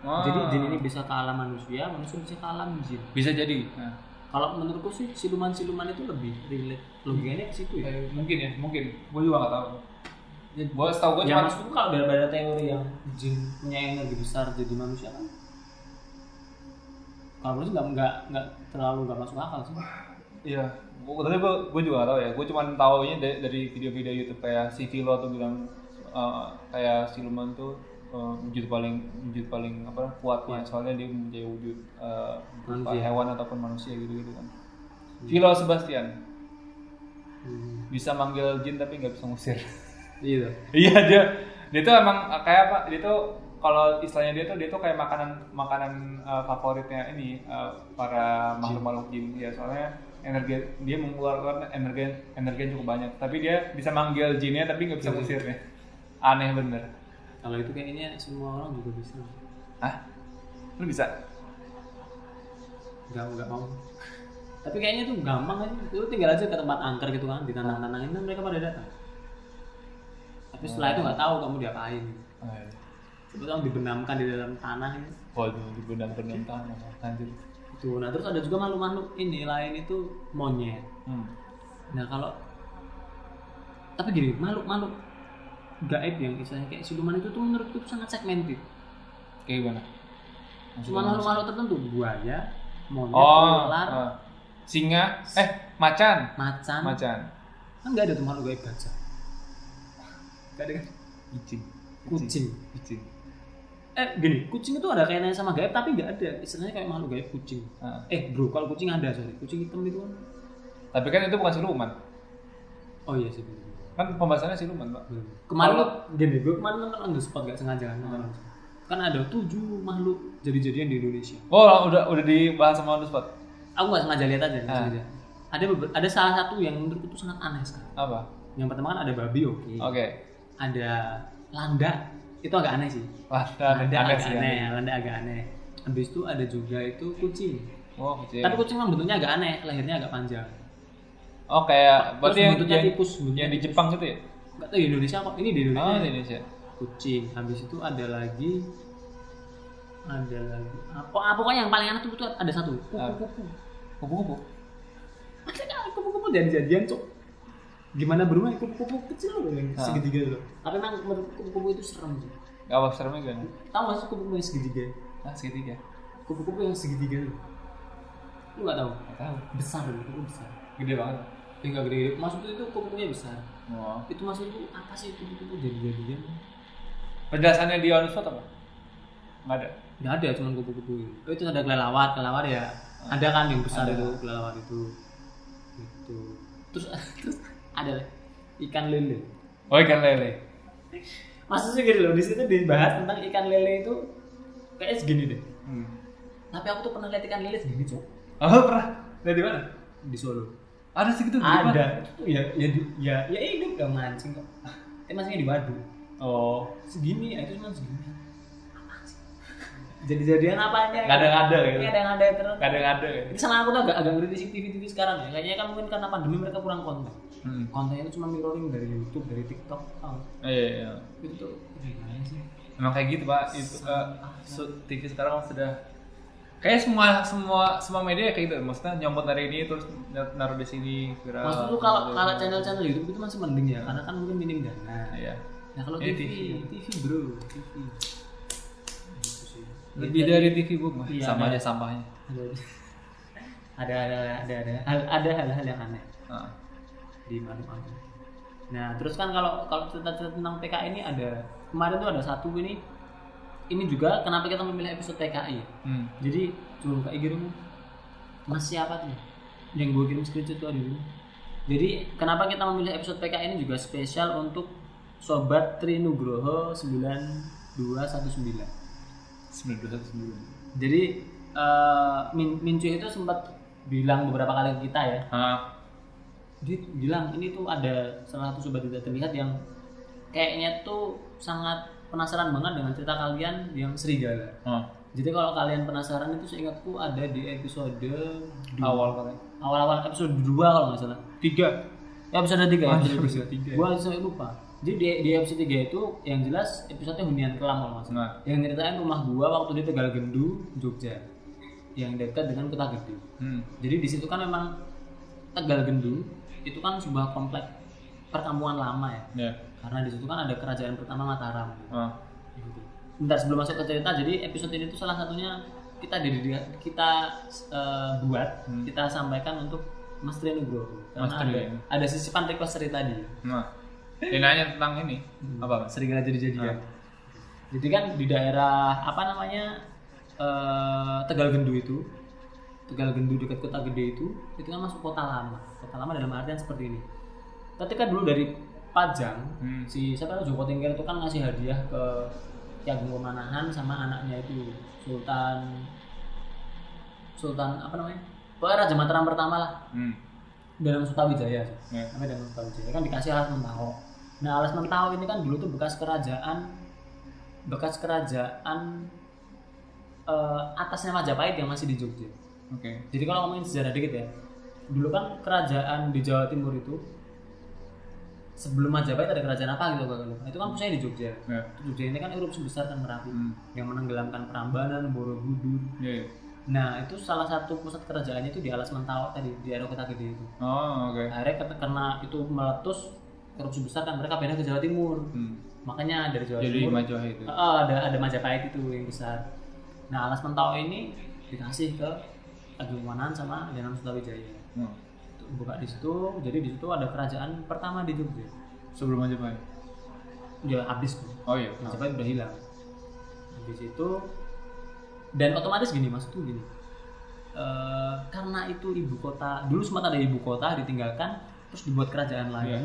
Ah.
jadi jin ini bisa ke alam manusia manusia bisa ke alam jin
bisa jadi nah,
kalau menurutku sih siluman siluman itu lebih relate logikanya ke situ ya
eh, mungkin ya mungkin gue juga nggak tahu gue setahu gue
ya
cuma
maksudku kalau daripada teori yang jin punya energi besar jadi manusia kan kalau menurut nggak nggak nggak terlalu nggak masuk akal sih
Iya, gua, tapi gue juga gak tau ya. Gue cuma taunya dari, dari video-video YouTube kayak si Vilo tuh bilang uh, kayak siluman tuh uh, wujud paling wujud paling apa kuatnya soalnya dia mempunyai wujud uh, berupa
Manusia.
hewan ataupun manusia gitu-gitu kan. Vilo Sebastian
hmm.
bisa manggil jin tapi nggak bisa ngusir.
gitu
Iya dia dia tuh emang uh, kayak apa? Dia tuh kalau istilahnya dia tuh dia tuh kayak makanan makanan uh, favoritnya ini uh, para makhluk-makhluk jin ya soalnya energi dia mengeluarkan energi energi yang cukup banyak tapi dia bisa manggil jinnya tapi nggak bisa ngusirnya aneh bener
kalau itu kayaknya semua orang juga bisa
ah lu bisa
nggak nggak mau tapi kayaknya itu gampang aja lu tinggal aja ke tempat angker gitu kan ditanam tanangin dan mereka pada datang tapi setelah itu nggak tahu kamu diapain
Ah, iya.
itu yang dibenamkan di dalam tanah gitu.
Waduh, dibenam benam tanah, anjir.
Itu. Nah terus ada juga makhluk-makhluk ini lain itu monyet.
Hmm.
Nah kalau tapi gini makhluk-makhluk gaib yang istilahnya kayak siluman itu tuh menurutku tuh sangat segmented.
Kayak gimana?
Cuma makhluk-makhluk tertentu buaya, monyet,
Oh,
ular,
eh, singa, eh macan,
macan.
macan,
Kan nggak ada tuh makhluk gaib gajah. Nggak ada kan?
kucing,
Kucing.
kucing.
Eh gini, kucing itu ada kaitannya sama gaib tapi nggak ada. Istilahnya kayak makhluk gaib kucing.
Ah.
Eh bro, kalau kucing ada sorry, kucing hitam itu kan.
Tapi kan itu bukan siluman,
Oh iya sih. bener.
kan pembahasannya siluman, pak.
Bener. Kemarin
Kalau-
gini, gue kemarin nonton on the spot gak sengaja kan nonton on the spot. Kan ada tujuh makhluk jadi-jadian di Indonesia.
Oh, udah udah dibahas sama on the spot.
Aku gak sengaja lihat aja. nggak
Ah.
sengaja. Ada beber- ada salah satu yang menurutku tuh sangat aneh sekali.
Apa?
Yang pertama kan ada babi oke.
Oke.
Ada landa itu agak aneh sih.
Wah, aneh,
Landa
Ah, aneh
agak
sih. ya.
aneh,
aneh.
landa agak aneh. Habis itu ada juga itu kucing.
Oh, kucing.
Tapi kucing kan bentuknya agak aneh, lehernya agak panjang.
Oh, kayak berarti yang,
bentuknya
yang,
tipus, bentuknya
yang di Jepang gitu ya?
Gak tahu Indonesia kok. Ini di Indonesia.
Oh,
ya.
di Indonesia.
kucing habis itu ada lagi ada lagi apa ah, pokoknya yang paling aneh tuh, tuh ada satu
Apa?
kupu-kupu
Kupu-kupu.
maksudnya kupu-kupu jadi-jadian cok gimana berumah kupu-kupu kecil loh yang
Ah.
segitiga loh tapi emang menurut kupu-kupu itu serem sih
Gak apa seremnya gimana?
tahu nggak sih kupu-kupu yang segitiga
Ah, segitiga.
kupu-kupu yang segitiga loh lu nggak tahu
Gak tahu.
besar loh kupu besar
Gede banget.
tinggal gede-gede maksud itu kupu-kupunya besar
Oh.
itu maksud itu apa sih itu kupu-kupu jadi-jadian
Penjelasannya di on the spot apa? Gak ada.
nggak ada cuma kupu-kupu itu. Oh, itu ada kelelawar kelelawar ya ada kan yang besar
Ada.
itu kelelawar itu itu terus terus ada ikan lele
Oh, ikan lele.
maksudnya gini loh di situ dibahas tentang ikan lele itu kayaknya segini deh
Hmm.
tapi aku tuh pernah lihat ikan lele segini cok
Oh, pernah. Dari mana?
di Solo
Ada segitu di depan?
ada itu ya ya di- ya ya hidup gak mancing kok eh maksudnya di waduk
Oh,
segini ya itu cuma segini Apaan sih? jadi-jadian apanya
Ngada-ngada gitu.
kadang-ada terus
kadang ada ya.
Jadi sama aku tuh agak agak ngeritis TV TV sekarang ya. Kayaknya kan mungkin karena pandemi mereka kurang konten.
Hmm.
Kontennya itu cuma mirroring dari YouTube, dari TikTok. Oh,
Iya, iya.
itu tuh gimana sih?
Emang kayak gitu pak. Itu eh, su- TV sekarang sudah kayak semua semua semua media kayak gitu. Maksudnya nyomot dari ini terus nar- naruh di sini viral.
Maksud lu
iya,
kalau kalau channel-channel YouTube itu masih mending ya, karena kan mungkin minim dana.
Iya.
Nah kalau
Iya,
TV,
TV.
TV bro, TV. Gitu sih.
Lebih dari TV bu,
Iya,
sama
ada.
aja sampahnya.
Ada ada ada ada ada ada hal-hal yang aneh.
Ah.
di mana mana. Nah terus kan kalau kalau cerita-cerita tentang PKI ini ada kemarin tuh ada satu ini ini juga kenapa kita memilih episode PKI.
Hmm.
Jadi turun kayak gitu Mas siapa tuh? Yang gue kirim screenshot tuh ada dulu. Jadi kenapa kita memilih episode PKI ini juga spesial untuk Sobat Trinugroho 9219
Sembilan dua satu sembilan.
jadi eh, Min Mincu itu sempat bilang beberapa kali ke kita ya
Ah.
dia bilang ini tuh ada salah satu sobat tidak terlihat yang kayaknya tuh sangat penasaran banget dengan cerita kalian yang serigala.
Ah.
Jadi kalau kalian penasaran itu seingatku ada di episode dua.
Awal katanya.
awal-awal episode 2 kalau nggak salah.
Tiga.
Ya episode 3 ya.
Ah,
episode
episode
3.
tiga.
Gua sampai lupa. Jadi di, di episode 3 itu yang jelas episode hunian kelam kalau nggak salah.
Nah.
Yang ceritain rumah gua waktu di Tegal Gendu, Jogja. Yang dekat dengan Kota Gede.
Hmm.
Jadi di situ kan memang Tegal Gendung itu kan sebuah komplek perkampungan lama ya.
Ya.
Karena di situ kan ada kerajaan pertama Mataram.
Ah.
Gitu. Bentar sebelum masuk ke cerita, jadi episode ini tuh salah satunya kita diri- kita eh, buat,
Hmm.
kita sampaikan untuk Mas Tri Nugroho. Karena
Mas Tri,
ada,
ya.
ada sisipan request Tri tadi.
Nah. Dia nanya tentang ini. Apa? Mas?
Serigala
Ah.
jadi-jadian. Jadi kan di daerah apa namanya eh, Tegal Gendu itu, Tegal Gendu dekat Kota Gede itu, itu kan masuk kota lama. Kota lama dalam artian seperti ini. Ketika dulu dari Pajang,
Hmm.
si siapa tahu Joko Tingkir itu kan ngasih hadiah ke Ki Agung Pemanahan sama anaknya itu Sultan Sultan apa namanya? Pokoknya Raja Mataram pertama lah
Hmm.
dalam Sutawijaya
Ya.
sampai dalam Sutawijaya kan dikasih alas mentawai nah alas mentawai ini kan dulu tuh bekas kerajaan bekas kerajaan eh, atasnya Majapahit yang masih di Jogja
Oke.
jadi kalau ngomongin sejarah dikit ya dulu kan kerajaan di Jawa Timur itu sebelum Majapahit ada kerajaan apa gitu gue lupa. Itu kan pusatnya di Jogja.
Ya.
Itu Jogja ini kan erupsi besar kan Merapi
Hmm.
yang menenggelamkan Prambanan, Borobudur.
Iya. iya.
Nah, itu salah satu pusat kerajaannya itu di Alas Mentawai tadi, di daerah Kota Gede itu.
Oh, oke.
Akhirnya ket- karena itu meletus erupsi besar kan mereka pindah ke Jawa Timur.
Hmm.
Makanya dari Jawa
Jadi
Timur
Majapahit itu.
Ah, ada ada Majapahit itu yang besar. Nah, Alas Mentawai ini dikasih ke Agung sama Danau Sutawijaya.
Hmm.
Tuh, Buka di situ, jadi di situ ada kerajaan pertama di Jogja.
Sebelum Majapahit.
Udah habis tuh.
Oh iya.
Majapahit udah hilang. Habis itu dan otomatis gini maksudku gini. Eh, karena itu ibu kota dulu sempat ada ibu kota ditinggalkan terus dibuat kerajaan
Iya.
lain.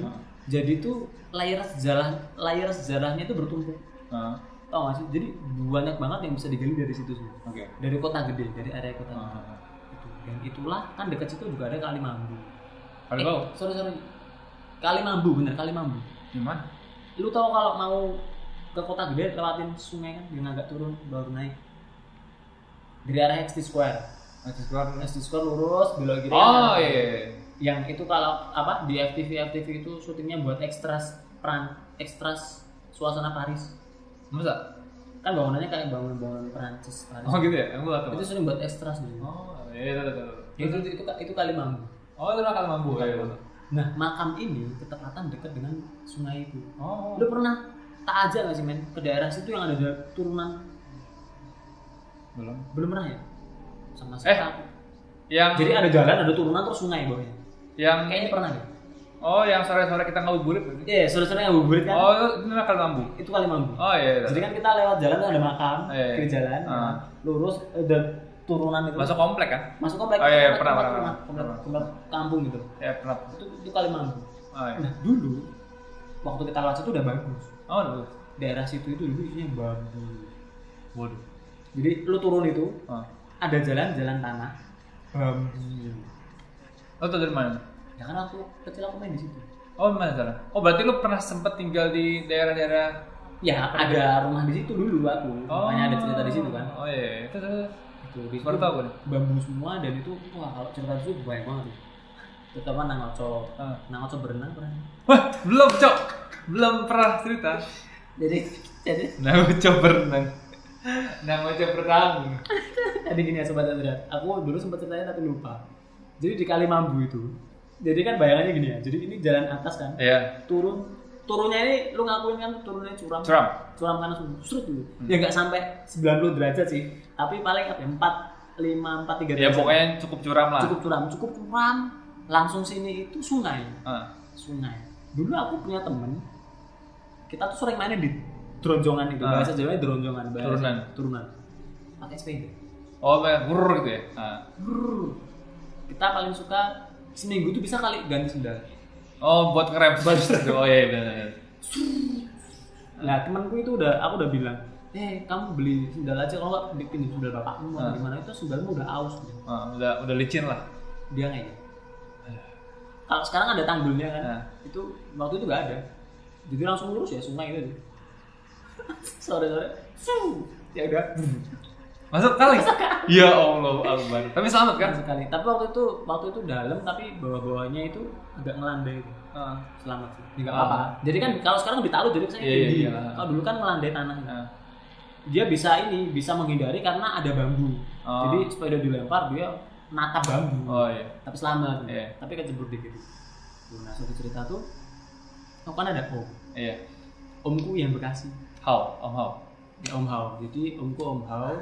Jadi tuh layar sejarah layar sejarahnya itu bertumpuk.
Ah,
Tau gak sih? Jadi banyak banget yang bisa digali dari situ semua.
Oke.
Dari kota gede, dari area kota gede.
Ah.
Itu. Dan itulah kan dekat situ juga ada Kali Mambu.
Kalau bau,
Eh, sorry sorry. Kali Mambu bener Kali Mambu.
gimana?
Lu tau kalau mau ke kota gede lewatin sungai kan yang agak turun baru naik. Dari arah XT Square.
Masih keluar.
XT Square lurus belok kiri.
Oh
kan ada-
iya. iya, iya.
Yang itu kalau apa di FTV FTV itu syutingnya buat ekstras peran ekstras suasana Paris.
Masa?
Kan bangunannya kayak bangunan-bangunan Prancis Paris.
Oh gitu ya? Emang gua tahu.
itu sering buat ekstras dulu
Oh iya iya, iya. iya.
itu itu itu kali mambu
Oh itu nakal mambu kayak gitu.
nah makam ini ketepatan dekat dengan sungai itu
Oh.
lu pernah tak aja nggak sih men ke daerah situ yang ada da- turunan
Belum.
belum pernah ya sama
Eh.
sekali
Yang
jadi ada jalan ada turunan terus sungai bawahnya
yang
kayaknya pernah deh
oh yang sore-sore kita ngabuburit berarti.
iya sore-sore ngabuburit kan
Oh itu, itu nakal mambu.
itu kali mambu
Oh iya. iya.
jadi kan kita lewat jalan ada makam
Iya, iya.
kiri jalan
Ah.
nah, lurus ada turunan itu
Masuk komplek kan?
masuk komplek
Oh, iya, iya,
komplek-
pernah,
komplek
pernah,
rumah, komplek,
pernah.
komplek kampung gitu
Ya pernah.
itu itu kali mambu
Oh iya.
nah dulu waktu kita lewat situ udah bagus
Oh dulu.
daerah situ itu dulu isinya bambu
Waduh.
jadi lu turun itu
Oh.
ada jalan-jalan tanah bambu
Lo tau dari mana?
ya kan aku kecil aku main di situ
Oh mana sana? Oh berarti lu pernah sempet tinggal di daerah-daerah
ya ada rumah di situ dulu aku
Oh.
makanya ada cerita di situ kan
Oh iya. iya. Terus, terus, terus.
itu di situ
Baru tahu kan? gue.
bambu semua dan itu wah kalau cerita itu banyak banget ya. terutama nang oco
Ah.
nang oco berenang pernah
Wah belum cok. Belum pernah cerita.
jadi jadi
Nah coba berenang. Nah coba berenang.
Tadi gini ya sobat Andra, aku dulu sempat ceritanya tapi lupa. Jadi di Kalimambu itu, jadi kan bayangannya gini ya. Jadi ini jalan atas kan,
Iya.
turun turunnya ini lu ngakuin kan turunnya curam
Curam. Hmm.
curam panas serut dulu ya nggak sampai 90 derajat sih tapi paling apa ya, empat lima empat tiga
Ya pokoknya cukup curam lah.
cukup curam cukup curam langsung sini itu sungai
Ah.
sungai dulu aku punya temen kita tuh sering mainnya di dronjongan itu
Ah.
bahasa jawa dronjongan bahasa
Turunan.
turunan pakai sepeda
Oh kayak burr gitu ya. Ah.
Brrr. kita paling suka seminggu tuh bisa kali ganti sendal
Oh buat ngerem. oh iya benar.
Nah temanku itu udah aku udah bilang, eh kamu beli sendal aja kalau nggak dipinjam sendal bapakmu atau
Ah.
gimana itu sendalmu udah aus gitu.
Ah, udah udah licin lah.
Dia nggak ya. Kalau sekarang ada tanggulnya kan,
Ah.
itu waktu itu nggak ada. Jadi langsung lurus ya sungai itu. sore sore, su, ya udah.
Hmm. Masuk kali. ya Allah Akbar. Tapi selamat kan?
Kan sekali. Tapi waktu itu waktu itu dalam tapi bawah-bawahnya itu agak ngelandai. Gitu.
Ah.
Selamat sih, nggak apa-apa. Jadi kan kalau sekarang ditaruh jadi misalnya
Iya, iya,
tinggi.
iya.
Kalau dulu kan melandai tanah.
Ah.
dia bisa ini bisa menghindari karena ada bambu
Oh.
jadi sepeda dilempar dia natap bambu
Oh iya.
tapi selamat gitu.
Iya.
tapi kecebur dikit Tuh, nah satu cerita tuh oh kan ada om
Iya.
omku yang bekasi
How? Om how?
ya om hao jadi omku om hao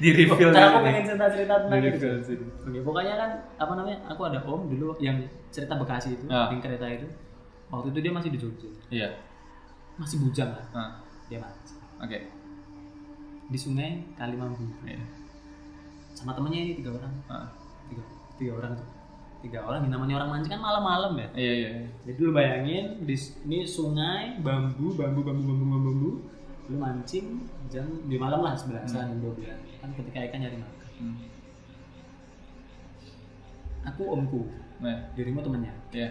Di reveal
Ntar aku
dulu nih.
pengen cerita cerita
Di
tentang itu
reveal sini.
Oke, pokoknya kan apa namanya aku ada om dulu yang cerita bekasi itu
Ah.
yang kereta itu waktu itu dia masih di jogja
Iya.
masih bujang kan? lah
Ah.
dia mati
Oke.
di sungai kalimambu
Iya.
sama temennya ini tiga orang
Ah.
tiga, tiga orang tuh tiga orang yang namanya orang mancing kan malam-malam ya
Iya iya. iya.
jadi lu bayangin di s- ini sungai bambu bambu bambu bambu bambu bambu lu mancing jam di malam lah sebelasan dua belas kan ketika ikan nyari makan
Hmm.
aku omku
Nah.
dirimu temennya
Iya.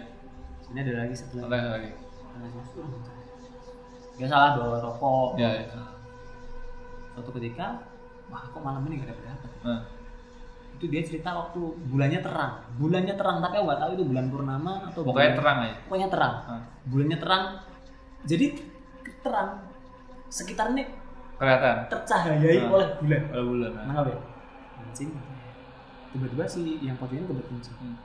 sini ada lagi satu lagi
Lagi lagi.
gak salah bawa rokok
Iya. iya.
suatu ketika wah kok malam ini gak ada berapa
Ah.
itu dia cerita waktu bulannya terang bulannya terang tapi aku nggak tahu itu bulan purnama atau
Pokoknya
bulan-
terang aja.
pokoknya terang
Nah,
bulannya terang jadi terang sekitar ini
kelihatan.
tercahayai
Ah.
oleh bulan
Kalau bulan. nah.
nangkap ya kencing tiba-tiba si yang pojoknya kebetulan kencing
Hmm.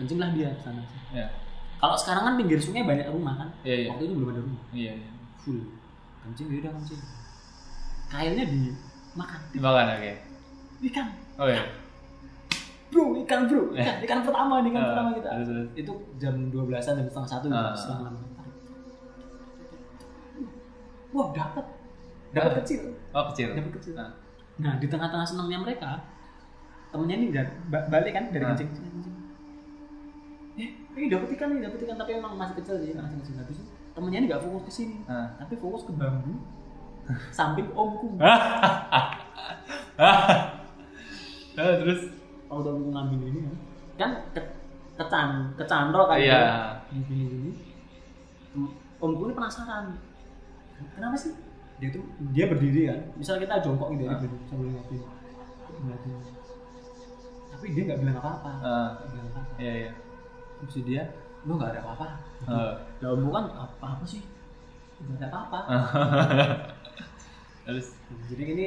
kencing lah dia ke sana
Ya.
kalau sekarang kan pinggir sungai banyak rumah kan
Iya iya.
waktu itu belum ada rumah
Iya. iya.
full kencing ya udah kencing kailnya dimakan
Dimakan oke.
ikan
Oh iya.
bro ikan bro ikan, ikan pertama nih ikan
Ah,
pertama kita
terus, terus.
itu jam 12-an jam setengah satu gitu,
Ah.
setengah enam. wah dapat dapat
Dapet.
kecil
Oh kecil.
dapat kecil
Ah.
nah di tengah-tengah senangnya mereka temennya ini nggak- ba- balik kan dari
Ah.
kencing eh ini dapat ikan nih dapat ikan tapi emang masih kecil sih masih kecil habis itu temennya ini nggak fokus ke sini
Ah.
tapi fokus ke bambu samping omku
Nah. Ah, terus.
kalau udah aku ngambil ini kan kan ke, kecan kecandro kan
Iya.
di sini sini om gue ini penasaran kenapa sih dia tuh dia berdiri kan misal kita jongkok gitu dia
Ah.
berdiri sambil ngopi Ngeliatin. tapi dia nggak bilang apa-apa
Ah,
Nggak bilang apa-apa
Iya iya.
terus dia lu nggak ada apa-apa
Ah.
ya om gue kan apa apa sih nggak ada apa-apa
Terus.
jadi ini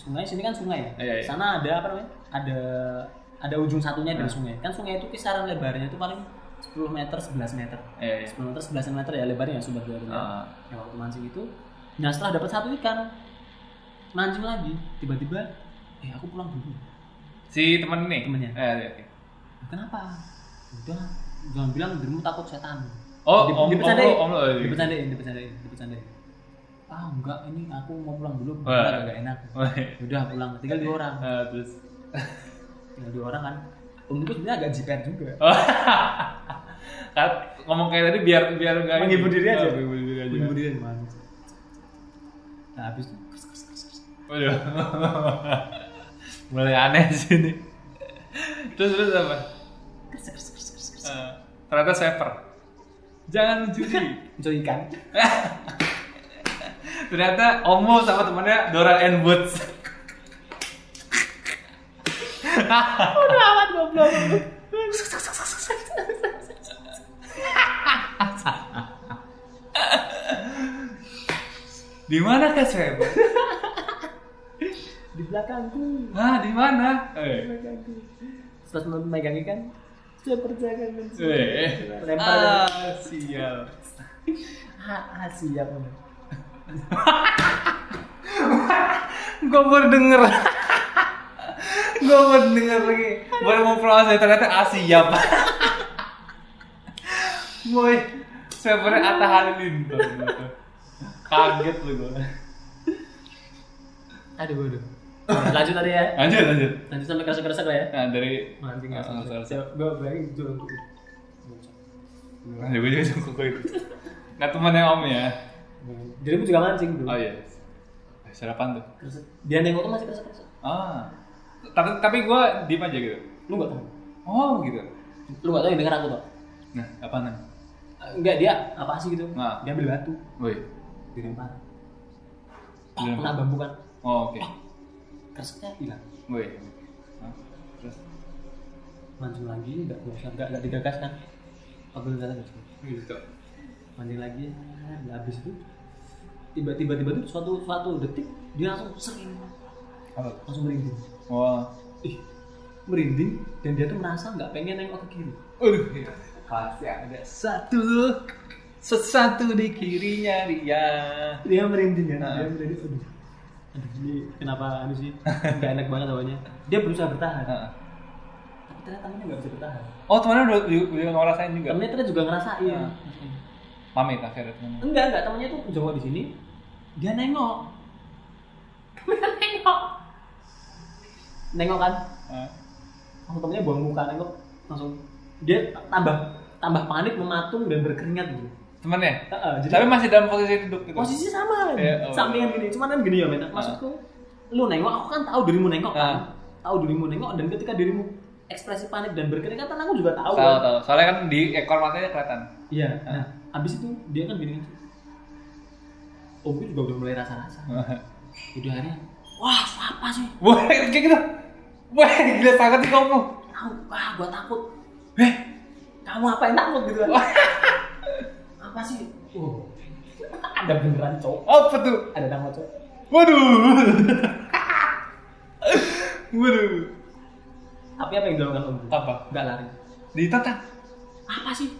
sungai sini kan sungai ya
Iya, iya.
sana ada apa namanya ada ada ujung satunya dari
Ah.
sungai kan sungai itu kisaran lebarnya itu paling 10 meter 11 meter
Iya iya.
10 meter 11 meter ya lebarnya sumber lebarnya
Ah.
ya waktu mancing itu nah setelah dapat satu ikan mancing lagi tiba-tiba eh aku pulang dulu
Si teman ini.
Temennya.
Eh, iya, iya.
kenapa udah jangan bilang dirimu takut setan
Oh,
Di-
om, om,
dipecandain.
lo, om lo. iya.
dipecandain dipecandain dipecandain ah enggak ini aku mau pulang dulu
Wah.
enggak agak enak
Oh, iya.
udah pulang tinggal dua orang
Ah, terus.
tinggal dua orang kan om itu sebenarnya agak jiper juga
Kan, ngomong kayak tadi biar biar enggak
Menghibur Iya, diri aja.
menghibur diri aja.
Bunuh diri gimana? nah habis itu kers, kers, kers, kers.
Waduh. Oh, iya. Mulai aneh sini. Terus terus apa?
Kers, kers, kers, kers, kers.
Eh, ternyata saper. Jangan mencuri.
mencuri ikan
ternyata Omo sama temannya Dora and Woods.
udah amat goblok
Di mana kak saper?
di belakangku
Hah, di mana? Eh.
belakangku terus memegang ikan saya percaya kan
Eh.
lempar kan?
Ah, sial.
ah, ah, siap
Gue baru denger. Gue baru denger lagi. Baru mau proses ternyata ah, Asia pak. Boy, sebenarnya Atta Halilintar. Kaget lu gue.
aduh aduh lanjut tadi ya
Lanjut lanjut.
lanjut sampai kerasa kerasa lah ya
Nah dari
mancing
Ah, keresek-keresek.
gue bayangin jual
Aduh, gue jadi kok itu. Nah temannya Om ya.
jadi gue juga mancing bro
Oh iya. Eh, Sarapan tuh.
Kerasa- dia nengok tuh masih kerasa kerasa
Ah. Tapi tapi gue diem aja gitu.
lu gak tau
Oh gitu.
lu gak tau yang denger aku tau
Nah apa nih?
enggak dia apa sih gitu
Nah.
dia ambil batu
Woi.
dilempar
Dilempar.
kena bambu kan
Oh oke.
kerasnya hilang
Woi. Hah? Terus.
mancing lagi nggak biasa nggak nggak digagas kan aku nggak tahu
Gitu.
mancing lagi nggak habis itu tiba-tiba tiba tuh suatu suatu detik dia langsung sering
Apa?
langsung merinding
Wah.
ih merinding dan dia tuh merasa nggak pengen nengok ke kiri
Aduh, iya. Pasti ada satu sesatu di kirinya dia.
dia merinding kan
Ah.
dia merinding aduh aduh ini kenapa anu sih nggak enak banget awalnya dia berusaha bertahan
Heeh.
tapi ternyata tangannya nggak bisa bertahan
Oh, temannya udah udah udah ngerasain juga.
temennya ternyata juga ngerasain
Ah. Pamit akhirnya temannya.
enggak enggak temennya tuh jongkok di sini dia nengok dia nengok nengok kan
Heeh.
langsung temennya buang muka nengok langsung dia tambah tambah panik mematung dan berkeringat gitu
Temannya.
Heeh, jadi
Tapi masih dalam posisi duduk gitu.
posisi sama
Ya, oh.
sampingan gini cuman kan gini ya men maksudku lu nengok aku kan tahu dirimu nengok kan
Ah.
tahu dirimu nengok dan ketika dirimu ekspresi panik dan berkeringat kan aku juga
Tahu
tahu kan.
tahu. Soalnya kan di ekor matanya kelihatan.
iya nah abis itu dia kan gini Oh, kan Om gue juga udah mulai rasa-rasa udah akhirnya wah apa sih
Wah, kayak gitu. Wah, gila sangat sih kamu.
Tahu, ah gua takut.
Eh,
Kamu ngapain takut gitu kan? Apa sih? Uh, ada beneran cowok,
apa tuh?
ada nama cowok.
Waduh. Waduh.
Tapi apa yang dilakukan Om?
Apa?
Gak lari.
Ditantang.
Apa sih?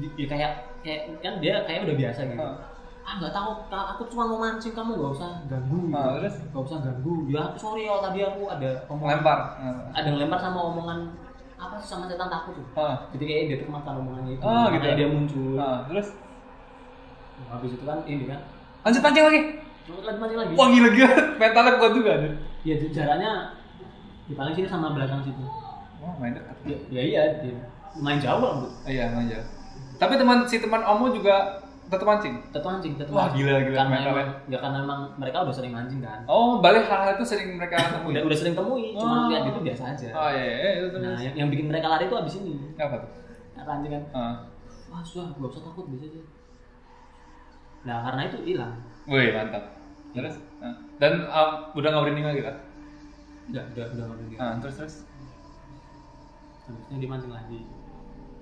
Di- Ya kayak kayak kan dia kayak udah biasa gitu.
Ah.
Ah nggak tahu, Kak. aku cuma mau mancing kamu nggak usah ganggu.
Ah, terus?
Nggak usah ganggu. Ya aku sorry ya tadi aku ada omongan.
Lempar.
Ada ngelempar sama omongan apa sih sama setan takut tuh.
Ah.
Jadi kayaknya dia termakan omongannya itu.
Ah, gitu
Makanya
ya?
dia muncul.
Ah, terus
Nah, habis itu kan ini kan.
lanjut pancing lagi.
Coba lanjut mancing lagi.
Wah gila gila, mentalnya kuat juga ada.
Ya jaraknya di paling sini sama belakang situ.
Wah main dekat.
Ya, ya iya, dia main jauh lah, Bu.
Ah, Iya aja. Tapi teman si teman Omo juga tetap mancing.
Tetap mancing, tetap
Wah,
mancing.
gila, gila,
Karena
mental
emang, ya karena emang mereka udah sering mancing kan.
Oh balik hal-hal itu sering mereka
Udah
temui.
udah sering temui,
Oh.
cuman lihat itu biasa aja.
Oh iya, iya itu terus.
Nah, yang, yang bikin mereka lari itu abis ini.
Apa tuh?
Karena anjing kan,
Ah.
wah sudah, gak usah takut, biasa aja. Nah, karena itu hilang.
Wih mantap. Terus? Ah. Dan ah, udah nggak berani lagi kan?
Udah, udah, udah nggak mungkin.
Ah, terus terus.
Habisnya dimancing lagi.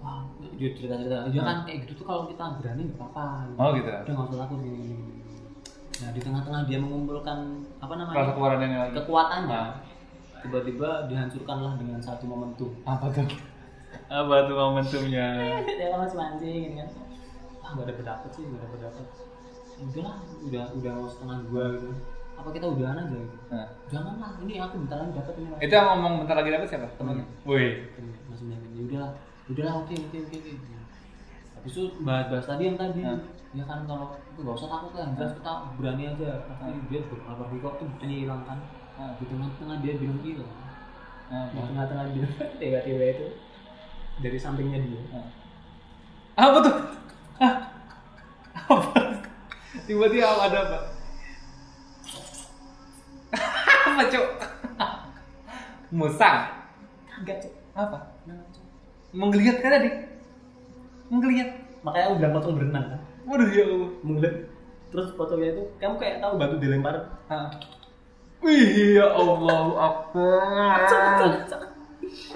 Wah, dia cerita-cerita. Ya kan kayak gitu tuh kalau kita berani nggak apa-apa. Gitu.
Oh gitu.
udah nggak usah takut gini gini gini. nah di tengah-tengah dia mengumpulkan apa namanya
Rasa kewaranannya lagi.
kekuatannya
Ah.
tiba-tiba dihancurkanlah dengan satu momentum
Apa tuh? Apa tuh momentumnya?
dia kan masih mancing gitu kan wah nggak ada pendapat sih nggak ada pendapat udahlah udah udah mau setengah dua gitu apa kita udahan aja gitu
Nah,
janganlah ini aku bentar lagi dapat ini
itu yang ngomong bentar lagi dapat siapa? Temennya. Wih.
masih bilang gini, Ya udahlah udahlah oke oke oke oke habis itu bahas-bahas tadi yang tadi
Hah?
ya kan kalau itu nggak usah takut lah yang jelas kita berani aja tapi dia beberapa hari kok tuh bukannya hilang kan
Hah.
di tengah-tengah dia bilang gitu. hilang
Ah,
di tengah-tengah dia tiba-tiba itu dari sampingnya dia
ah. Apa tuh? Hah? Apa? Tiba-tiba ada apa? apa cok? Musang.
kagak cok
Apa?
Nggak, Cok.
Menggeliat kan tadi? Menggeliat.
makanya aku bilang foto berenang kan
Waduh ya Allah.
mulai terus fotonya itu kamu kayak tahu batu dilempar
Ah. Wih ya Allah akbar.
Cok, cok.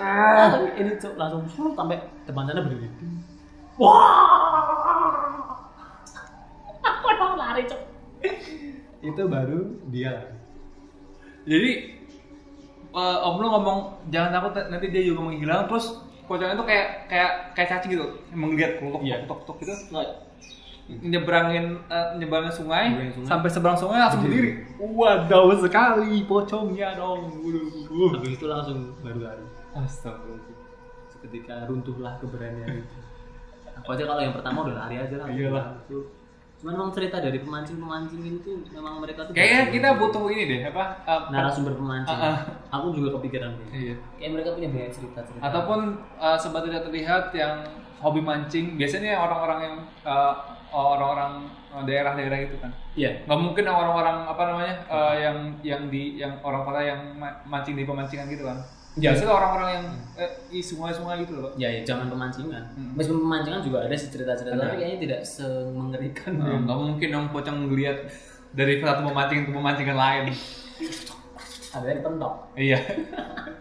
Langsung Ah. ini cok langsung fuh, sampai depan sana berdiri wah aku mau lari cok itu baru dia lari
Jadi eh, Om lu ngomong jangan takut nanti dia juga menghilang terus pocongnya tuh kayak kayak kayak cacing gitu menggeliat kelutuk
Iya.
kelutuk kelutuk gitu nyebrangin eh, nyebrangin sungai,
Nyebrangin sungai. Iya.
sampai seberang sungai langsung berdiri. Wadaw sekali pocongnya dong. Waduh.
habis itu langsung baru lari
Astagfirullah.
seketika runtuhlah keberanian itu aku aja kalau yang pertama udah lari aja lah
Iyalah.
Itu. cuman memang cerita dari pemancing pemancing itu memang mereka tuh
Kayaknya
berhasil.
kita butuh ini deh apa? eh,
narasumber pemancing
Ah, ah.
aku juga kepikiran gitu.
Iya.
kayak mereka punya banyak cerita cerita
ataupun uh, sobat tidak terlihat yang hobi mancing biasanya orang-orang yang uh, orang-orang uh, daerah-daerah itu kan
iya
nggak mungkin yang orang-orang apa namanya uh, yang yang di yang orang kota yang ma- mancing di pemancingan gitu kan
Iya.
biasanya orang-orang yang eh, di sungai-sungai gitu loh Pak.
ya, ya jangan pemancingan
Hmm.
meskipun pemancingan juga ada sih cerita cerita
Ada.
tapi kayaknya tidak semengerikan
Uh,
yang-
nggak mungkin dong pocong ngeliat dari satu pemancing ke pemancingan lain
ada yang pentok
iya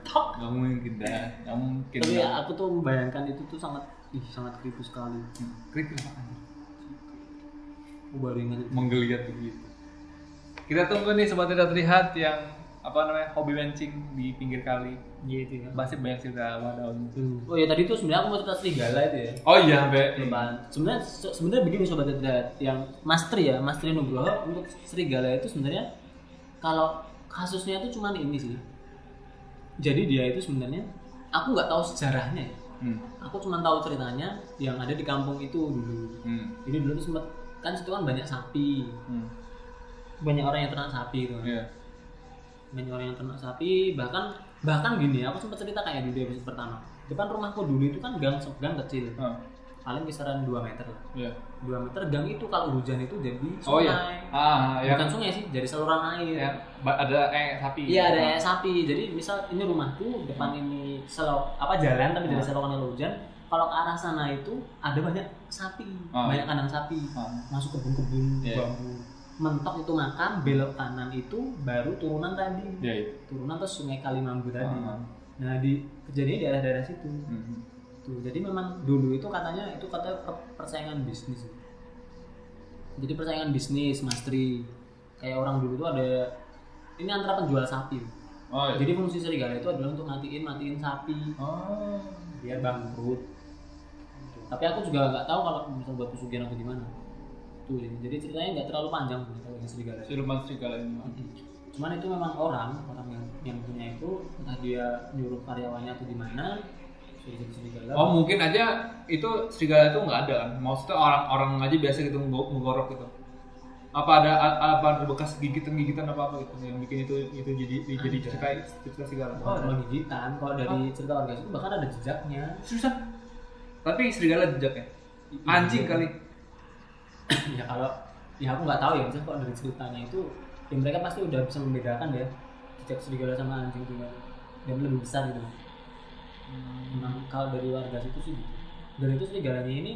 nggak mungkin dah nggak mungkin
tapi
dah.
ya, aku tuh membayangkan itu tuh sangat ih sangat creepy sekali
Hmm, creepy banget.
aku baru ingat itu.
menggeliat begitu. Kita tunggu nih sobat tidak terlihat yang apa namanya hobi mancing di pinggir kali.
Iya, itu ya.
Pasti banyak cerita wadahnya.
Hmm. oh ya tadi tuh sebenarnya aku mau cerita serigala itu ya
Oh iya, Be.
Lebaran. Sebenarnya se- sebenarnya begini sobat Dedrat, yang Master ya, Master Nugroho untuk serigala itu sebenarnya kalau kasusnya itu cuman ini sih. Jadi dia itu sebenarnya aku nggak tahu sejarahnya ya.
Hmm.
Aku cuma tahu ceritanya yang ada di kampung itu dulu.
Hmm.
Jadi dulu tuh sempat kan situ kan banyak sapi,
Hmm.
banyak orang yang ternak sapi itu. kan.
Iya.
Banyak orang yang ternak sapi, bahkan bahkan gini, aku sempat cerita kayak di episode pertama. Depan rumahku dulu itu kan gang gang kecil,
Oh,
paling kisaran 2 meter lah.
iya.
2 meter gang itu kalau hujan itu jadi sungai.
Oh iya. Ah, yang
Bukan sungai sih, jadi saluran air.
yang ba- ada eh sapi.
Iya ada
Ah.
kayak sapi. Jadi misal ini rumahku, depan ini selo apa jalan tapi
Ah.
dari selokan yang hujan. Kalau ke arah sana itu ada banyak sapi,
Ah.
banyak kandang sapi.
Ah.
Masuk kebun-kebun
Iya. Hmm.
bambu. mentok itu makam belok kanan itu baru turunan tadi
Iya, iya.
turunan terus sungai Kalimambu tadi
Ah.
nah di kejadian di daerah-daerah situ
Mhm.
Tuh, jadi memang dulu itu katanya itu katanya per- persaingan bisnis. Jadi persaingan bisnis, Mas Tri. Kayak orang dulu itu ada ini antara penjual sapi.
Oh, iya.
Jadi fungsi serigala itu adalah untuk matiin matiin sapi
Oh.
biar bangkrut. Tapi aku juga nggak tahu kalau bisa buat pesugihan atau gimana. Tuh, jadi ceritanya nggak terlalu panjang sebenarnya kalau yang serigala.
Siluman serigala ini.
Cuman itu memang orang orang yang yang punya itu entah dia nyuruh karyawannya atau gimana suruh jadi serigala.
Oh mungkin aja itu serigala itu nggak ada kan? Maksudnya orang-orang aja biasa gitu ngego- ngegorok gitu. Apa ada a- apa ada bekas gigitan-gigitan apa apa gitu yang bikin itu itu jadi jadi cerita cerita serigala.
Oh, kalau gigitan, kalau dari cerita warga itu bahkan ada jejaknya.
susah. Tapi serigala jejaknya. Anjing kali.
ya kalau ya aku nggak tahu ya, misalnya kalau dari ceritanya itu ya mereka pasti udah bisa membedakan ya jejak serigala sama anjing juga dan lebih besar gitu. Memang kalau dari warga situ sih gitu. Dan itu serigalanya ini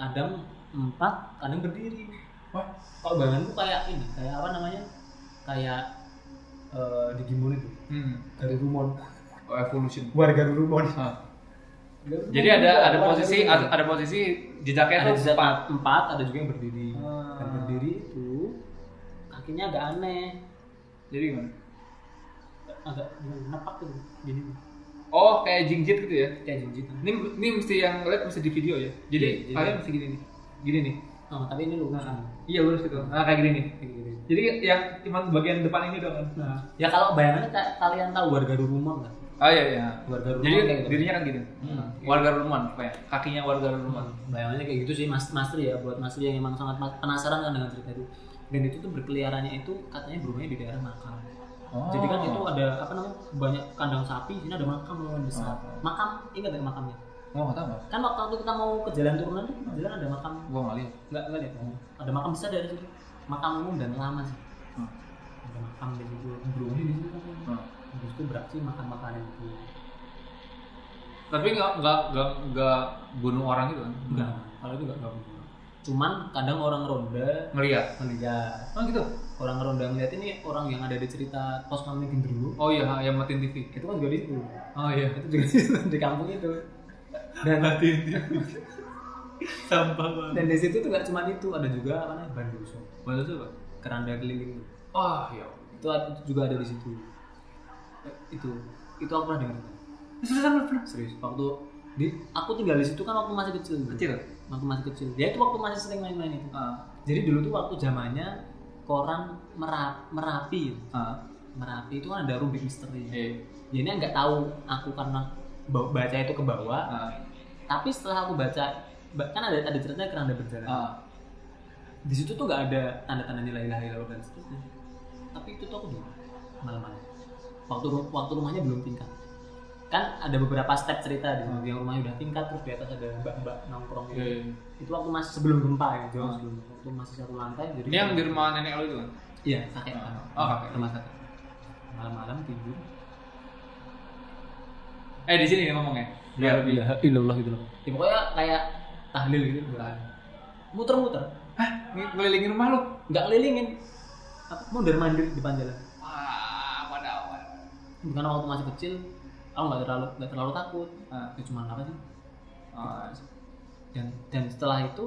kadang empat, kadang berdiri.
Wah.
Kalau bayanganku kayak ini, kayak apa namanya? Kayak eh, Digimon itu,
Hmm.
Garurumon.
Oh, evolution.
Warga Garurumon.
Hah.
Garurumon
Jadi ada ada
juga, warga
posisi
Garurumon.
ada, ada posisi jejaknya
ada
tuh
jejak
empat.
empat ada juga yang berdiri
Ah.
dan berdiri itu kakinya agak aneh
Jadi gimana?
agak gimana nepak gitu gini
Oh kayak jingjit gitu ya?
kayak jinjitan
Ini ini mesti yang lihat mesti di video ya. Jadi
Iya, jadi-
kalian mesti gini nih. Gini nih.
oh, tapi ini lurus
Nah, iya lurus gitu. Nah kayak gini nih.
Kayak gini.
Jadi yang cuma bagian depan ini doang. kan?
nah ya kalau bayangannya kayak kalian tahu warga rumah kan
Ah iya iya.
warga rumah
Jadi
kayak gitu
dirinya kan gini.
Hmm.
Warga Rumun, kayak kakinya warga Rumun.
bayangannya kayak gitu sih mas mas Tri ya buat mas Tri yang emang sangat mas- penasaran kan dengan cerita itu dan itu tuh berkeliarannya itu katanya berumahnya di daerah makam
Oh.
jadi kan
gitu.
itu ada apa namanya banyak kandang sapi sini ada makam lumayan besar
Oh.
makam ingat nggak makamnya
Gua Oh, nggak tahu mas.
kan waktu waktu kita mau ke jalan turunan tuh di jalan ada makam
Gua nggak lihat.
nggak nggak lihat ada makam besar dari situ makam umum dan lama sih
Hmm.
ada makam dari situ beruni di situ kan
Hmm.
habis itu beraksi makan makanan itu
Tapi nggak nggak nggak nggak bunuh orang gitu kan?
enggak kalau itu enggak enggak begitu. cuman kadang orang ronda
Ngeliat.
melihat
Oh gitu.
orang ronda melihat ini orang yang ada di cerita pos kami gendruwo
Oh iya yang matiin TV.
itu kan juga di situ
Oh iya.
itu juga di situ, di kampung itu dan
Matiin TV. Sampah banget.
dan di situ tuh nggak cuma itu ada juga apa namanya banduso
Maksud apa?
keranda keliling tuh
Wah ya.
itu ada- juga ada di situ Eh, itu itu aku pernah dengar serius waktu di aku tinggal di situ kan waktu masih kecil gitu.
Kecil.
waktu masih kecil ya itu waktu masih sering main-main itu
Ah.
jadi dulu tuh waktu zamannya koran merap merapi ya.
Ah.
merapi itu kan ada rubik misteri
Iya.
ya ini nggak tahu aku karena ba- baca itu ke bawah
Ah.
tapi setelah aku baca ba- kan ada ada ceritanya keranda berjalan
Ah.
di situ tuh nggak ada tanda-tanda nilai ilaha illallah dan seterusnya tapi itu tuh aku dulu malam-malam waktu ru- waktu rumahnya belum tingkat kan ada beberapa step cerita di situ yang rumahnya udah tingkat terus di atas ada mbak-mbak nongkrong gitu.
Hmm. Iya, iya.
itu waktu masih sebelum gempa ya jauh
Hmm.
sebelum waktu masih satu lantai jadi
Ini yang di rumah nenek lo itu kan?
iya kakek
Ah.
kakek.
Oh, kakek.
rumah kakek malam-malam tidur
Eh di sini ngomongnya.
ya
Biar lebih.
ilallah gitu loh ya, pokoknya kayak tahlil gitu muter-muter
Hah? Ng- Ngelilingin rumah lo?
nggak ngelilingin apa mondar mandir di depan jalan
Wah, pada awal.
karena waktu masih kecil aku nggak terlalu nggak terlalu takut
Ah.
ya cuma apa sih
Ah,
dan dan setelah itu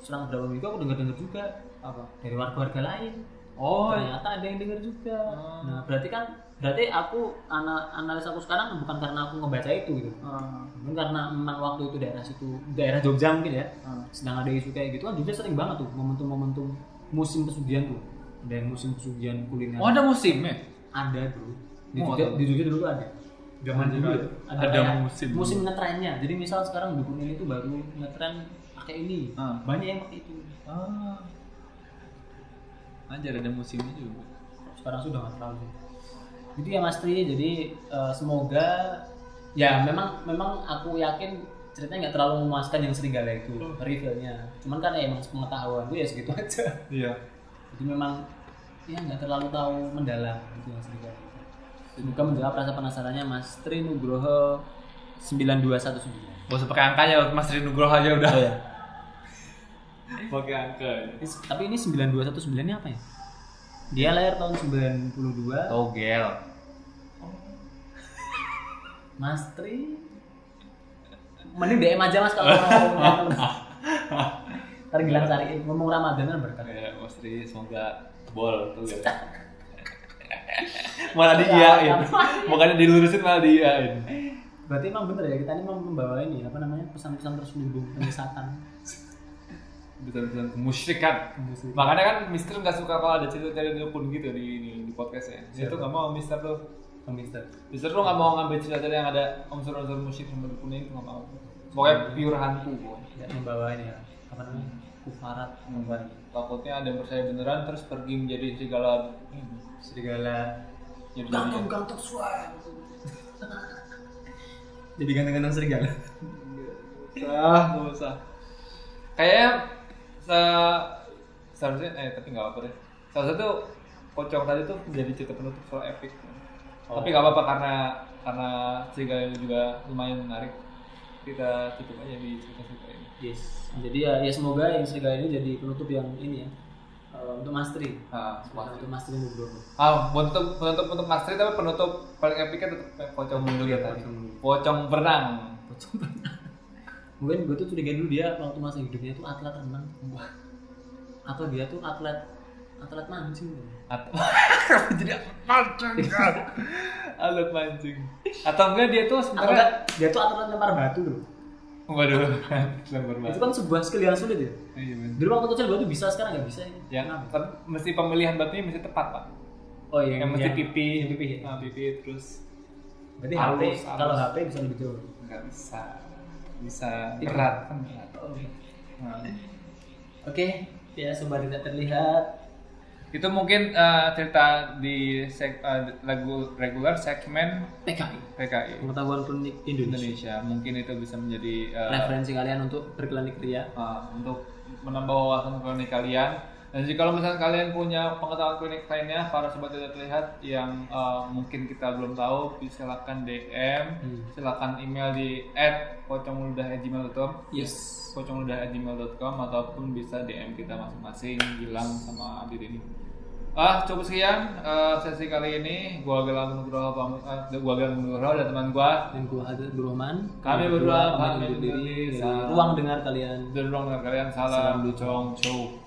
selang beberapa minggu aku dengar dengar juga
apa?
dari warga warga lain
Oh, iya.
ternyata ada yang dengar juga
Hmm.
nah berarti kan berarti aku ana, analis aku sekarang bukan karena aku ngebaca itu gitu
Ah,
mungkin karena memang waktu itu daerah situ daerah Jogja mungkin ya
ah.
sedang ada isu kayak gitu kan Jogja sering banget tuh momentum-momentum musim pesugihan tuh ada yang musim pesugihan kuliner
Oh, ada musimnya?
ada bro di
Oh,
Jogja,
ada.
di Jogja dulu tuh ada
Zaman
dulu
dulu. ya?
ada,
Ada
kayak
musim.
musim ngetrennya jadi misal sekarang dukun ini tuh baru ngetren pakai ini
Ah.
banyak yang pakai itu
Ah. Anjir, ada musimnya juga.
sekarang sudah nggak terlalu sih. jadi ya Mas Tri jadi eh, semoga ya memang memang aku yakin ceritanya nggak terlalu memuaskan yang serigala itu
Hmm.
revealnya cuman kan ya, emang pengetahuan gue ya segitu aja
Iya.
jadi memang ya nggak terlalu tahu mendalam gitu yang serigala itu. semoga menjawab rasa penasarannya Mas Tri Nugroho 9219 iya.
Gak usah pakai angkanya, Mas Rinu Nugroho aja udah.
Oh ya.
pakai angka
Is- Tapi ini 9219 ini apa ya? Dia lahir tahun 92.
togel
Mas Tri. Mending DM aja Mas kalau mau. Ntar Gilang cariin ngomong Ramadan kan berkah.
ya Mas Tri semoga tebol togel malah
Iya,
diiyain makanya dilurusin malah diiyain
Berarti emang bener ya kita ini mem- membawa ini apa namanya pesan-pesan terselubung penyesatan.
pesan-pesan kemusyrikan makanya kan Mister nggak suka kalau ada cerita dari dukun gitu di di, di podcastnya dia tuh nggak mau Mister tuh
Om Mister.
Mister tuh nggak mau ngambil cerita dari yang ada unsur-unsur musyrik sama dukunnya itu nggak mau pokoknya pure hantu pokoknya.
Ya, membawa ini ya apa namanya kufarat membawa
takutnya ada yang percaya beneran terus pergi menjadi serigala
serigala
jadi
gantung suara jadi ganteng-ganteng serigala
sah nggak usah kayaknya se seharusnya eh tapi nggak apa deh salah satu pocong tadi tuh jadi cerita penutup soal epic
Oh.
tapi nggak apa-apa karena karena serigala ini juga lumayan menarik kita tutup aja di cerita-cerita ini
yes jadi ya, ya semoga yang serigala ini jadi penutup yang ini ya eh, untuk Mas Tri
ah
Semoga untuk Mas Tri Nugroho
Ah, penutup penutup untuk Mas Tri tapi penutup paling epicnya tetap pocong mulia tadi.
Pocong Mulia.
Pocong berenang.
mungkin gue tuh curiga dulu dia waktu masa hidupnya tuh atlet renang atau dia tuh atlet atlet mancing
Atau jadi mancing. Alat mancing. Atau enggak dia tuh
atau
sebenarnya
enggak dia tuh atlet lempar batu loh
waduh lempar
itu
batu.
kan sebuah skill yang sulit ya
Iya bener.
dulu waktu kecil gue tuh bisa sekarang nggak bisa ini
Ya,
Kenapa?
tapi mesti pemilihan batunya mesti tepat, Pak.
oh iya
Yang mesti pipih,
yang pipih ya.
Ah, pipih terus
berarti HP
Halus, halus.
kalau HP bisa lebih jauh
enggak bisa bisa
Iya.
berat kan berat. Nah.
oke ya sembari tidak terlihat
Itu mungkin eh, cerita di seg- eh, lagu regular segmen
PKI
PKI.
pengetahuan klinik Indonesia
Indonesia mungkin itu bisa menjadi uh,
referensi kalian untuk berkeliling ria
uh, untuk menambah wawasan klinik kalian dan jika kalau misalnya kalian punya pengetahuan klinik lainnya para sobat tidak terlihat yang uh, mungkin kita belum tahu silakan DM
Hmm.
silakan email di @pocongludah@gmail.com
yes
pocongludah@gmail.com ataupun bisa DM kita masing-masing Gilang sama Adit ini ah cukup sekian uh, sesi kali ini gua Gilang Nugroho pamit- eh, gua Gilang Nugroho dan teman gua
dan gue Hazrat Burhman
Kami
Yang
berdua
kedua,
pamit
undur
undur diri.
dari
Salam.
ruang dengar kalian
dari ruang dengar kalian salam lucong cuy